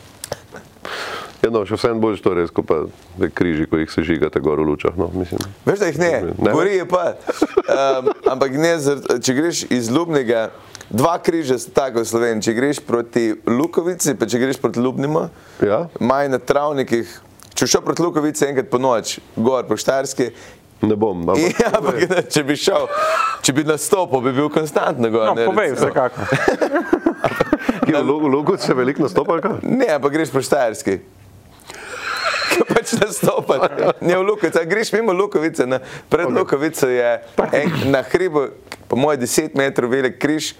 Ja, no, še vsem boljš to res, kot pa te križi, ko jih se žigate gor v lučah. No, mislim. Veš, da jih ne, Ne. gori je pa. Um, ampak ne, zar- če greš iz Ljubnega, dva križa sta tako v Sloveniji. Če greš proti Lukovici, pa če greš proti Ljubnima, Ja. maj na travnikih. Če bi šel proti Lukovici enkrat po noč, gor po Štarski, ne bom. No, Ampak, ja, ampak, ne, če bi šel, če bi nastopil, bi bil konstantno gor. No, ne, povej, recimo. vsekakor. ki je v Lugu- Lugu se veliko nastopa, ali kaj? Ne, ampak greš po Štajerski. Kaj pač nastopaš? Ne v Lukovici, a greš mimo Lukovice. Na, pred okay. Lukovico je Pač. en, na hribu, po mojem, 10 metrov velik križ,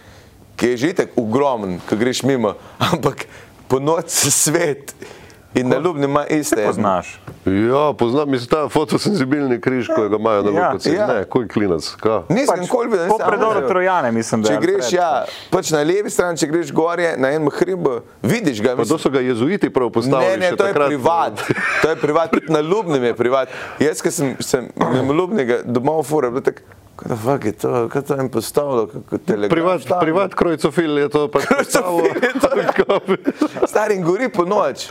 ki je že tako ogromen, ko greš mimo, ampak po noči svet in na ljubni ima iste. Poznaš. Ja, poznam, mislim, ta fotosenzibilni križ, ko ga imajo na Ja, Lugu. ja. Ja. Ne, kuj klinac. ka. Nisem nikoli bil na Pač, po predoru Trojane, mislim, da Če je, ali greš, pred. ja, pač na levi strani, če greš gorje, na enem hribu, vidiš ga. Pa to mislim, so ga jezuiti prav Ne, postavili. ne, še to je takrat. no. privat. To je privat, tudi na Ljubnem je privat. Jaz, ki sem, sem mimo Ljubnega domov fura, bil tak, kaj da fuck je to, kaj to jim postavilo, kako telegram. Privat, štavno?" privat krojcofil je to pač. Krojcofil je to. ja. to. Stari in gori po noč.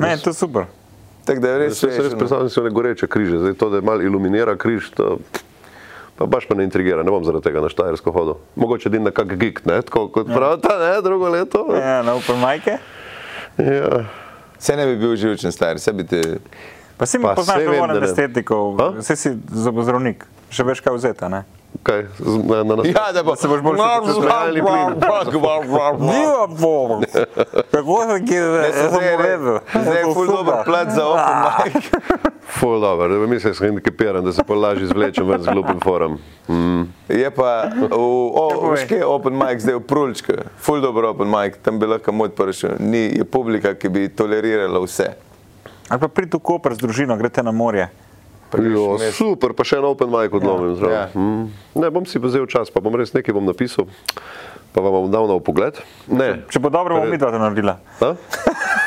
Ne, to je super. Tako da je res Jaz se res smešno. no. predstavljam, da so one goreče križe. Zdaj to, da malo iluminira križ, to pa baš me ne intrigira. Ne bom zaradi tega na Štajersko hodil. Mogoče din na kak gig, ne? Tako kot pravita, ne? Drugo leto. Ja, na open majke. Ja. Se ne bi bil živčen star, se bi te... Pa si mi Pa poznaš saj vem, dovolj da ne. estetikov, A? vse si zobozdravnik, še veš kaj vzeta, ne? Kaj? z- Na, na, na, Ja, da bo. se boš bolj počutil. Zbrali plin. Viva Bog! Kako sem ki sem povedal? No. Zdaj je ful dober plat za open mic. Full dobro, da mislim, da sem handicapiran, da se pa lažje izvlečem ven z glupim forum. Mm. Je pa v Tako je. Oške open mic, zdaj v Prulčku, ful dobro open mic, tam bi lahko mod pršel. Ni je publika, ki bi tolerirala vse. Ali pa prid v Koper z družino, greste na morje. Jo, super, pa še en open mic odlomim. Ja, ja. ja. mm. Ne bom si pa vzel čas, pa bom res nekaj bom napisal, pa vam bom dal na pogled. Ne. Če bo dobro, bomo Pred- mi dva to naredila. A?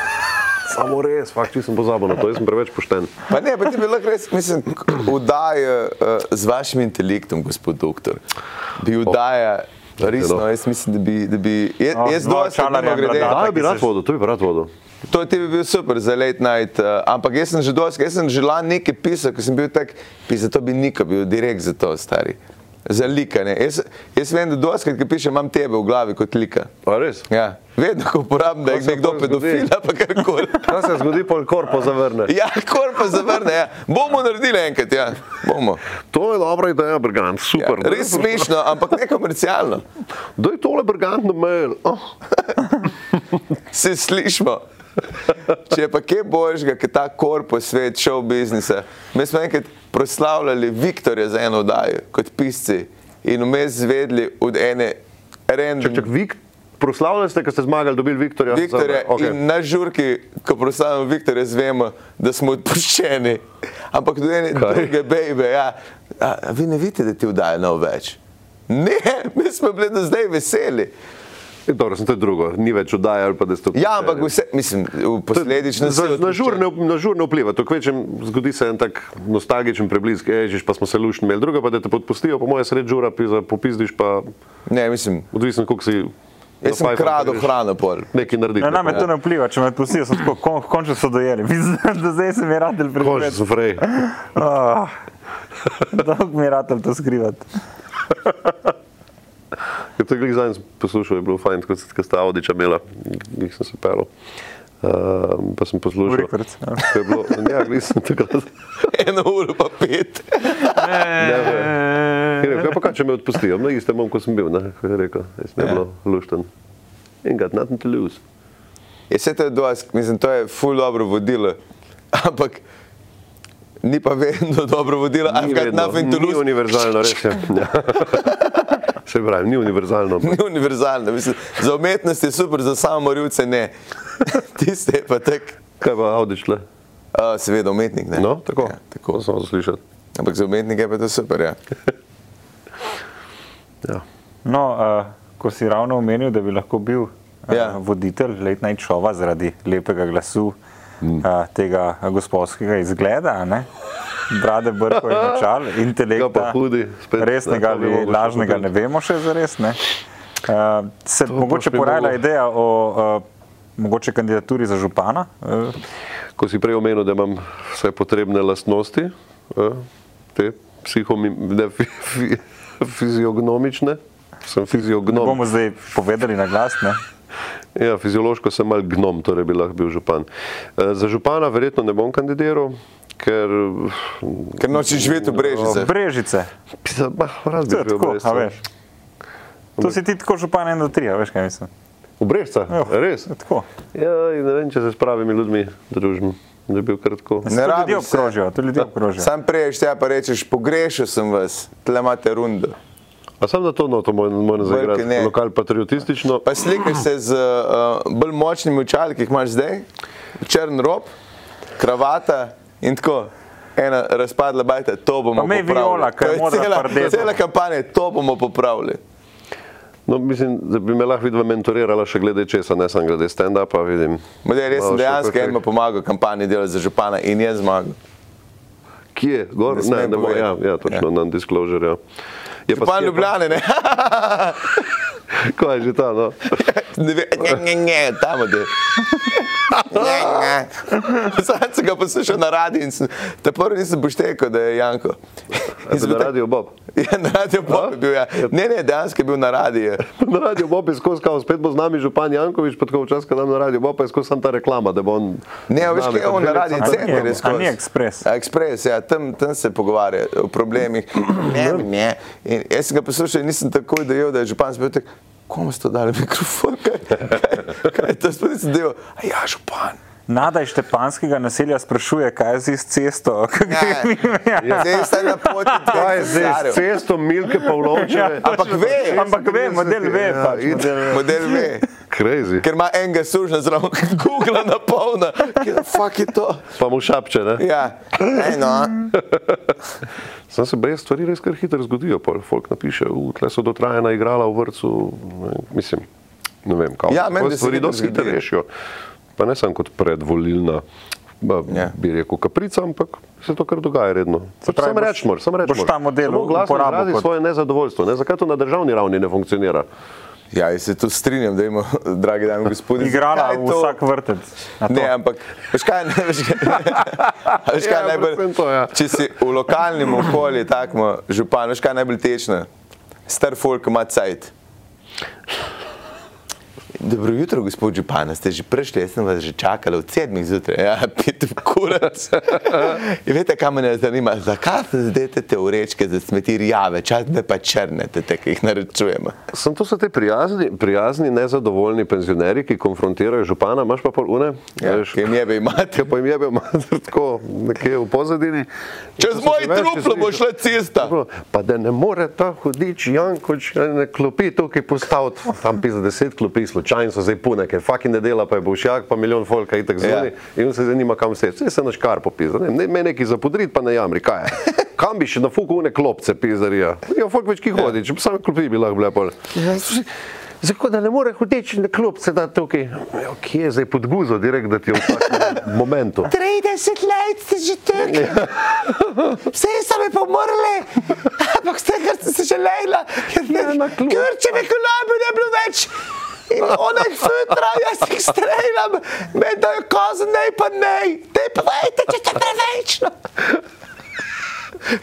Samo res, fakt, sem pozabil na to, jaz sem preveč pošten. Pa ne, pa ti bi lahko res, mislim, vdaja uh, z vašim intelektom, gospod doktor. Bi vdaja, oh, resno, no. jaz mislim, da bi, da bi jaz, No, no, jaz dva dosti mimo čalarja in grede. bradata. Da, bi rad se- vodil, to bi rad vodil. To ti bi bil super za late night, uh, ampak jaz sem že dosti, jaz sem že lani nekaj pisal, ker sem bil tak, pi za to bi nikam bil, direkt za to, stari. Za likanje. Jaz, jaz vem, da dosti, ki piše, imam tebe v glavi kot lika. A res? Ja. Vedno, ko uporabim, da je se nekdo pol zgodi? pedofil, pa karkoli. Kaj se zgodi, pol korpo zavrne? Ja, korpa zavrne, ja. bomo naredili enkrat, ja, bomo. To je dobra ideja, Brgant, super. no. Ja, res smešno, ampak ne komercialno. Daj tole Brgant na mail. Oh. Se slišimo. Če je pa kje božga, ki ta korpus svet šov biznisa, mi smo enkrat proslavljali Viktorja za eno oddajo kot pisci in vmes zvedli od ene random Čak, Vik, proslavljali ste, ker ste zmagali, dobili Viktorja. Viktorja okay. in okay. na žurki, ko proslavljamo Viktorja, zvemo, da smo odpuščeni. Ampak do ene Kaj? druge bebe, ja. A, a vi ne vidite, da ti vdaja nov več? Ne, mi smo bili do zdaj veseli. in... E, Dobro, sem to je drugo, ni več oddaja ali pa da ste Ja, ampak vse. vse, mislim, v posledično si Na, na, odpuščen. žur ne, na žur ne vpliva, tako večjem zgodi se en tak nostalgičen preblisk, ježiš, pa smo se lušni imeli, druga pa da te podpustijo, po moje sred žura, pizda, popizdiš pa, Ne, mislim, odvisno koliko si... Jaz sem na fajfan, kradel greš hrano pol. Nekaj narediti. Ne, na me ne. to ne vpliva, če me pustijo, sem tako, kon, končno so dojeli. Do zdaj sem je radel Končno preveč. so frej. Oh, Dolgo mi je radel to skrivati. Ker to je glih zadnjič poslušal, je bilo fajn, kot se sta Audiča imela, jih sem se pelil. Uh, pa sem V poslušal. rekords, ja. ko je bilo, ja, gledal sem takrat. Eno uro pa pet. Je rekel, "Ja, pa kaj, če me odpustijo, na istem bom, kot sem bil, ne, ko je rekel, jaz sem Ja. yeah. bil lušten. In got nothing to lose. Je vse Ja, to je dosk, mislim, to je ful dobro vodilo, ampak ni pa vedno dobro vodilo, ali Ni kar vedno, nothing to Ni lose. univerzalno, res je. Ja. Se pravi, ni univerzalno. ampak Ni univerzalno, mislim, za umetnost je super, za samomorilce ne. Tiste je pa tak, Kaj pa avdičle? a, seveda umetnik ne. No, tako. Ja, To tako. Sem zaslišal. Ampak za umetnike je pa to super, ja. Ja. No, uh, ko si ravno omenil, da bi lahko bil uh, Ja. ja. voditelj letnega šova zaradi lepega glasu, mm. uh, tega gospodskega izgleda, ne? brade brko in načal, Ga pa intelekta, hudi, spet, ne, resnega to bi ali mogoče lažnega, ne povedati. vemo še za res. Ne? Uh, se To to mogoče boš mi porajala mogel. ideja o uh, mogoče kandidaturi za župana. Uh, Ko si prej omenil, da imam vse potrebne lastnosti, eh, te psihomim- ne, fi- fi- fiziognomične, sem fiziognom. bomo zdaj povedali na glas. Ne? Ja, fiziološko sem mal gnom, torej bi lahko bil župan. E, za župana verjetno ne bom kandidiral, ker Ker nočeš živeti v brežicah. Brežice, pisa, bah, raz ah, bi to je bil tako, brez. a veš. To si ti tako župan 1-3, a veš kaj mislim. Obrežca, Ja. res. Tako. Ja, in ne vem, če se s pravimi ljudmi družim, da bi bil kratko. Ne Ne rabiš rabiš se. obkrožja, to ljudi obkrožja. Sam preješ tja pa rečeš, pogrešil sem vas, tle imate rundo. A sam zato, no, to moram zaigrati, ne. lokal patriotistično. Pa slikaš se z uh, bolj močnimi očali, ki jih imaš zdaj, črn rob, kravata in tako. Ena razpadla bajta, to bomo Pa imej popravili. viola, ker To je modra cela, pardeta. cela kampanja, to bomo popravili. No, mislim, da bi me lahko vidva mentorirala še glede česa, ne samo glede stand-upa, vidim. Model, jaz sem Malo še dejansko kakšnih- enemu pomagal kampanji delati za župana in je zmagal. Kje? Gor? Ne, ne, Ne smem ne bo, ja, povedati. ja, točno, ja. non-disclosure. Ja. Je Župan sklepam- Ljubljane, ne? Kaj je že ta? No? ne, ve, ne, ne, ne, tam ode. Sam sem ga poslušal na radiju in sem, ta prvi nisem poštekal, da je Janko. In Na sem bil tak- radiju Bob. Ja, na radiju Bob je bil, ja. Ne, ne, dejansko je bil na radiju. Na radiju Bob je skozi, kao, spet bo z nami župan Jankovič, pa tako včasih, ko dam na radiju Bob, pa je skozi samo ta reklama, da bo on. Ne, a No, veš, kaj je on na radiju A ni- Ja. center, je a skozi. ni Ekspres? A, Ekspres, ja, tam, tam se pogovarja o problemih. Ne, ne. In jaz sem ga poslušal in nisem takoj dojel, da je župan spet tak, komu ste dali mikrofon, kaj, kaj, kaj je to spet nisem dojel. A ja, župan. Nada iz Štepanskega naselja sprašuje, kaj je zdaj s cesto. ki Ja, gre mimo. Ja. zdaj ste na poti Kaj je zdaj s tega. cesto Milke Pavlovčeve? Ja, Ampak ve, Ampak ve, model ve. Ja, pač, in- model ve. model ve, Crazy. ker ima enega sužnja zraven, Google na polno. Kje, Fuck je to. Pa mu šapče, ne? Ja, no. eno. Sam se brez stvari res kar hitro zgodijo, pa folk napiše, tle so dotrajena igrala v vrtu, mislim, ne vem, kako. Ja, meni, Tako da se stvari hitro dosti hitro zgodi. rešijo. Pa ne samo kot predvolilna, ba, Ja. yeah. bi rekel, kaprica, ampak se to kar dogaja redno. Pač Sam pravi, boš- rečemo, sam boš rečemo. ta model uporabil uporablja kot... kot- svoje nezadovoljstvo. Ne? Zakaj to na državni ravni ne funkcionira? Ja, jaz se tu strinjam, da imamo, dragi dame in gospodje. Igrala zakaj v to- vsak vrtec. A to? Ne, ampak veš kaj, ne, veš kaj, a veš kaj Ja, najbolj, predvsem to, ja. če si v lokalnem okolju takmo župan, veš kaj najbolj tečno, star folk ima cajt. Dobro jutro, gospod Župan, ste že prišli, jaz sem vas že čakal od sedmih zjutraj, ja, pit v kurac. In veste, kaj me zanima, zakaj se zdete te urečke za smeti rjave, čas ne pa črne, te, te, ki jih naročujemo. Sem to so te prijazni, prijazni, nezadovoljni penzionerji, ki konfrontirajo župana, imaš pa pol une, Ja, veš, ki jim jebe imate. ki pa jim jebe mater tako nekje v pozadini. Čez moj truplo bo šla cesta. Tako, Pa da ne more ta hudič Jankoč na klopi tukaj postaviti, tam pisa deset klopi, slučajno so zdaj pune, ker fucking ne dela, pa je bošjak, pa milijon folka itak zvoni Ja. ja. in on se zanima, kam se je. Vse se na škar popisa, ne, ne, me neki zapodrit, pa ne jamri, kaj je. Kam bi še na fuku une klopce pizarija? Ja, folk več ki hodi, če bi samo klopi bi lahko bile pol. Zato, da ne more hudič na klopce da tukaj. Ja, kje je zdaj pod guzo, direkt, da ti je v takem momentu. 30 let ste že tekli, vse so mi pomrli, ampak ste kar ste se že lejla, Ja, na klub. Grčeve kolabe ne bilo več. In onaj futra, jaz jih streljam, me da je kozen, ne pa ne, te povejte, če ste prevečno.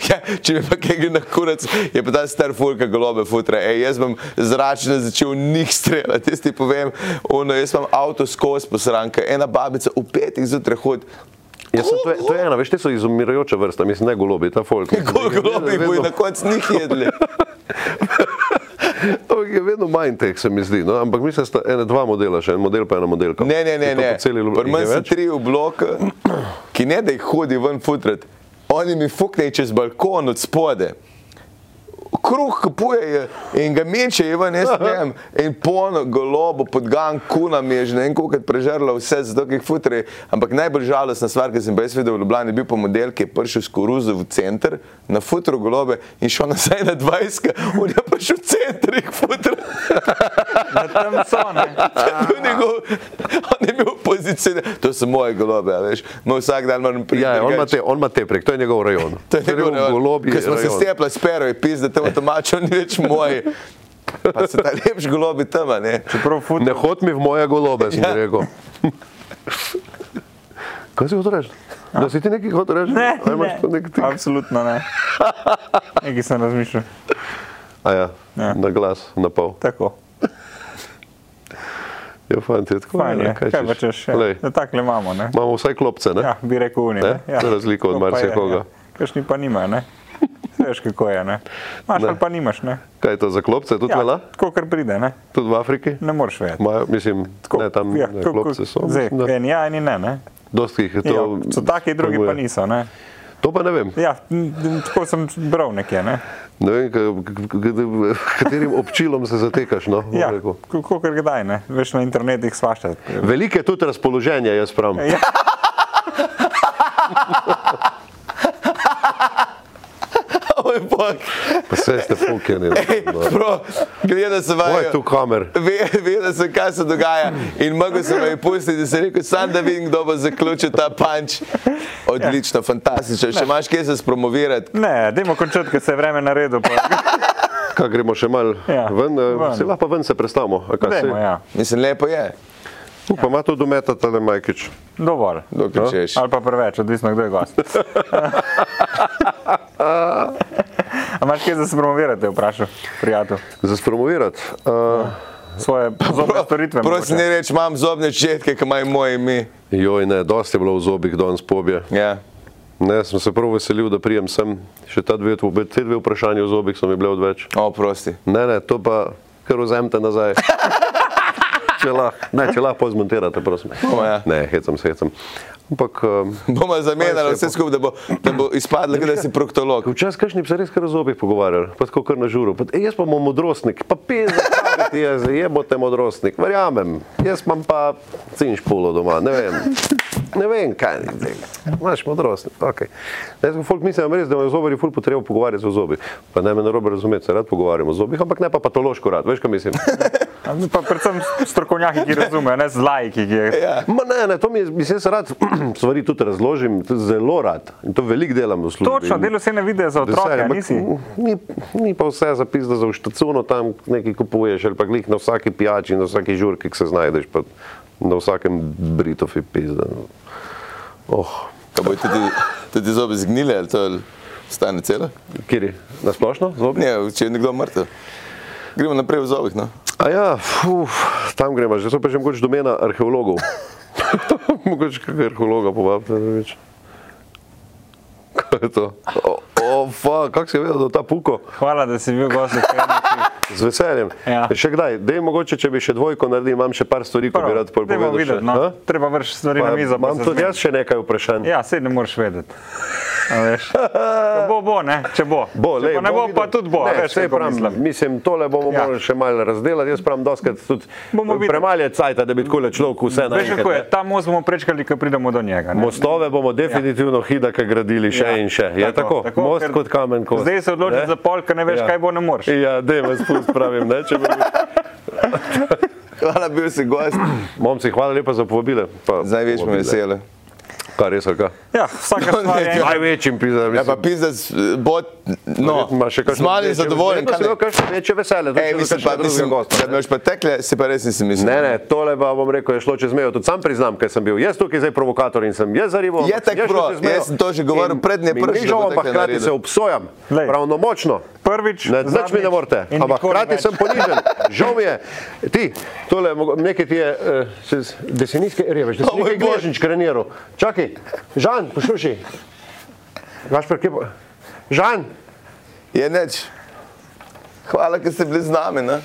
Ja, če bi pa kaj gre na kurac, je pa ta star fulka golobe futra. Ej, jaz bom zračne začel njih streljati, jaz ti povem, ono, jaz imam avto skozi posranka, ena babica v petih zjutraj hodi. Jaz Ja sem, to, je, to je ena, veš, te so izumirajoča vrsta, mislim, ne golobi, ta folk. Koliko golobi bojo na koncu njih jedli? To je vedno manj teh, se mi zdi. No? Ampak mislim, da sta ene, dva modela, še en model, pa ena modelka. Ne, ne, ne. Je to ne. po Celi Pri meni so Ljubljani. tri v blok, ki ne da jih hodi ven futrat, oni mi fuknejo čez balkon od spode. Kruh kupujejo in ga mečejo ven, jaz ne vem, in polno golobo pod gan, kuna mi je že ne vem, koliko prežrla vse za tokih futre. Ampak najbolj žalostna stvar, ki sem pa jaz videl v Ljubljani, je bil pa model, ki je prišel s koruzo v center, na futro golobe in šel nazaj na 20, on je pa šel v center jih Ja. futro. Na tem so, ne. To je njegov, on je bil pozicioniran, to so moje golobe, a veš. No, vsak dan moram priti. Ja, ja, on ima drugače. te, on ima te prek, to je njegov rajon. To je njegov golob. Ko smo se stepli s pero, je pis, da te avtomačo ni več moj. Pa se ta lepš golobi tam, a ne. Čeprav fut, Ne hod mi v moje golobe, sem ja. Ja. rekel. Kaj si hotel reči? No. Da si ti nekaj hotel reči? ne, A imaš to ne. nek tik? Absolutno ne. Nekaj sem razmišljal. A ja, Ja. ja. na glas, na pol. Tako. Ja, fant je tako. Fajn ne, je, kaj pa češ. ja. Glej, Da takle imamo, ne. Imamo vsaj klopce, ne? Ja, bi rekel unijo. Ne? Za razliko od marsikoga. Kašni ja. pa nimajo, ne. Veš kako je, ne. Imaš Ne. ali pa nimaš, ne. Kaj je to za klopce, tudi ja. Ja, vela? tako kar pride, ne. Tudi v Afriki? Ne moreš vedeti. Majo, mislim, tako, ne, tam ja, ne, ko- ko- klopce so. Zdaj, mislim, da. eni ja, eni ne, ne. Dosti jih je Ja, to. so taki, drugi pa potrebuje. niso, ne. To pa ne vem. Ja, m, m, tako sem bral nekje, ne. Ne vem, k- k- k- katerim občilom se zatekaš. No, bom Ja, rekel. kako kar kdaj, ne. Veš na internetih svašta. Veliko je tudi razpoloženja, jaz pravim. Ja. Oj, bog. Pa se ste fukeni. no. Ej, Bro, gleda se Kaj je vajo. tu kamer? Ve, vedel sem, kaj se dogaja in mogel sem jo pustiti, da sem rekel, sam da vidim, kdo bo zaključil ta panč. Odlično, fantastično. Še imaš kaj se spromovirati? Ne, dajmo končati, ker se je vreme naredil. Pa... Kaj gremo še mal Ja, ja, ven, eh, ven. se lahko pa ven se predstavimo. a kaj se? Dajmo, ja. Mislim, lepo je, Upam, ima to dometa tale Majkič. Dovolj. dokaj češ. Ali pa preveč, odvisno kdo je gost. A imaš kaj za se promovirati, vprašal, prijatelj? Za spromovirati. Uh, Svoje zobne storitve. Prosim, ne mogoče. reči, imam zobne četke, ki imajo moje ime. joj, ne, dosti je bilo v zobih danes pobje. Ja. Ne, sem se prav veselil, da prijem sem. Še ta dve, obe- te dve vprašanje o zobih so mi bile odveč. O, prosti. Ne, ne, to pa kar vzemite nazaj. Če lahko, ne, če lahko pol zmontirate, prosim. O, ja. Ne, hecam se, hecam. Ampak um, Bomo zamenjali vse skupaj, da bo, da bo izpadlo, kot da si proktolog. včasih kašni bi se res kar z obih pogovarjali, pa tako kar na žuru. Pa, e, jaz pa bom modrostnik, pa peza, ti je, je bote modrostnik, verjamem. Jaz imam pa cinš pulo doma, ne vem. Ne vem, kaj je tega. Imaš modrostnik, ok. Jaz sem folk mislim res, da imajo zobari ful potrebo pogovarjati se o zobih. Pa ne me narobe razumeti, se rad pogovarjamo o zobih, ampak ne pa patološko rad, veš kaj mislim. Pa predvsem strokovnjaki, ki razumejo, ne z lajki, ki je. Ma ne, ne, to mi je, mislim, jaz rad stvari tudi razložim, tudi zelo rad. In to veliko delam v službi. Točno, delo se ne vidi za Deserje, otroke, a ampak nisi. Ni, ni pa vse zapisano za uštacuno, tam nekaj kupuješ, ali pa glih na vsaki pijači, na vsaki žurki, ki se znajdeš, pa na vsakem britofi pizda. Oh, Kaj bo tudi, tudi zobe zgnile, ali to je- stane celo? kiri, nasplošno, zobni? Ne, če je nekdo mrtev. Gremo naprej v zobih. No. A ja, fuf, tam gremo, že so pa že mogoče domena arheologov. mogoče kakega arheologa povabite, da več. Kaj je to? O, o fuck, kako si vedel, da je ta puko? Hvala, da si bil gost. v Kremnici. Z veseljem. Ja. Še kdaj, dej mogoče, če bi še dvojko naredil, imam še par stvari, ki bi rad pol dajmo povedal. še. videti, A? no. Treba vrš stvari na Pa mizo. pa Imam se tudi jaz zmeniš. še nekaj vprašanj. Ja, se ne moreš vedeti. A veš. Ko Bo, bo, ne, če bo. Bo, če lej, pa ne bo, pa videl. tudi bo. a Ne, veš, saj kako pravim, mislim. mislim, tole bomo Ja. ja. morali še malo razdelati. Jaz pravim, doskrat tudi Bomo videli. premalje cajta, da bi tako človek vse Veš kako je, naredil. ta most bomo prečkali, ko pridemo do njega. ne. Mostove bomo definitivno ja. hidaka gradili še Ja. ja. in še. Je tako? tako? Most ker kot kamen. Kot. Zdaj se odločiš za pol, ker ne veš, ja. kaj bo, ne moreš. Ja, dej vas pust pravim. Ne, če bi- Hvala, bil si gost. Momci, hvala lepa za povabile. pa Z največjim povabile. veseljem. Eh, Kaj res, ali kaj? Ja, vsaka No, stvar ne, je ja. ena. Največjim pizarom. Ja, pa pizdac, bot, no, z malim zadovoljen. Pa si imel kakšno večje veselje. Ej, mislim pa, mislim, da me boš pretekle, si pa res nisem mislil. Ne, ne, tole pa bom rekel, je šlo čez mejo. Tudi sam priznam, ker sem bil jaz tukaj zdaj provokator in sem jaz zarival. Je tako prav, jaz sem to že govoril pred nje prvič, da bo Prišel, ampak tako hkrati naredil. se obsojam. Glej. Pravnomočno. Prvič, Ne, nič mi ne zadnjič morete, in ampak nikoli hkrati več. sem ponižen. Žal mi je. Ti, tole, mogo- nekaj ti je, eh, se z- da si nizke, reveš, da si O moj nekaj bog. gnežnič kreniral. Čakaj, Žan, poslušaj. Gašper, kje pa? Žan, Je neč. Hvala, ker ste bili z nami. Ne?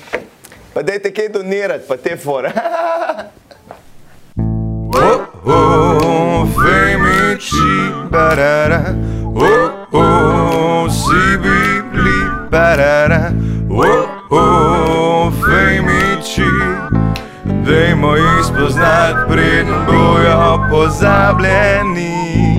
Pa dajte kaj donirati, pa te fore. Oh, fame ci barara. Oh, oh, si bibli barara. Oh, oh, fame ci. Dajmo jih spoznati, preden bojo pozabljeni.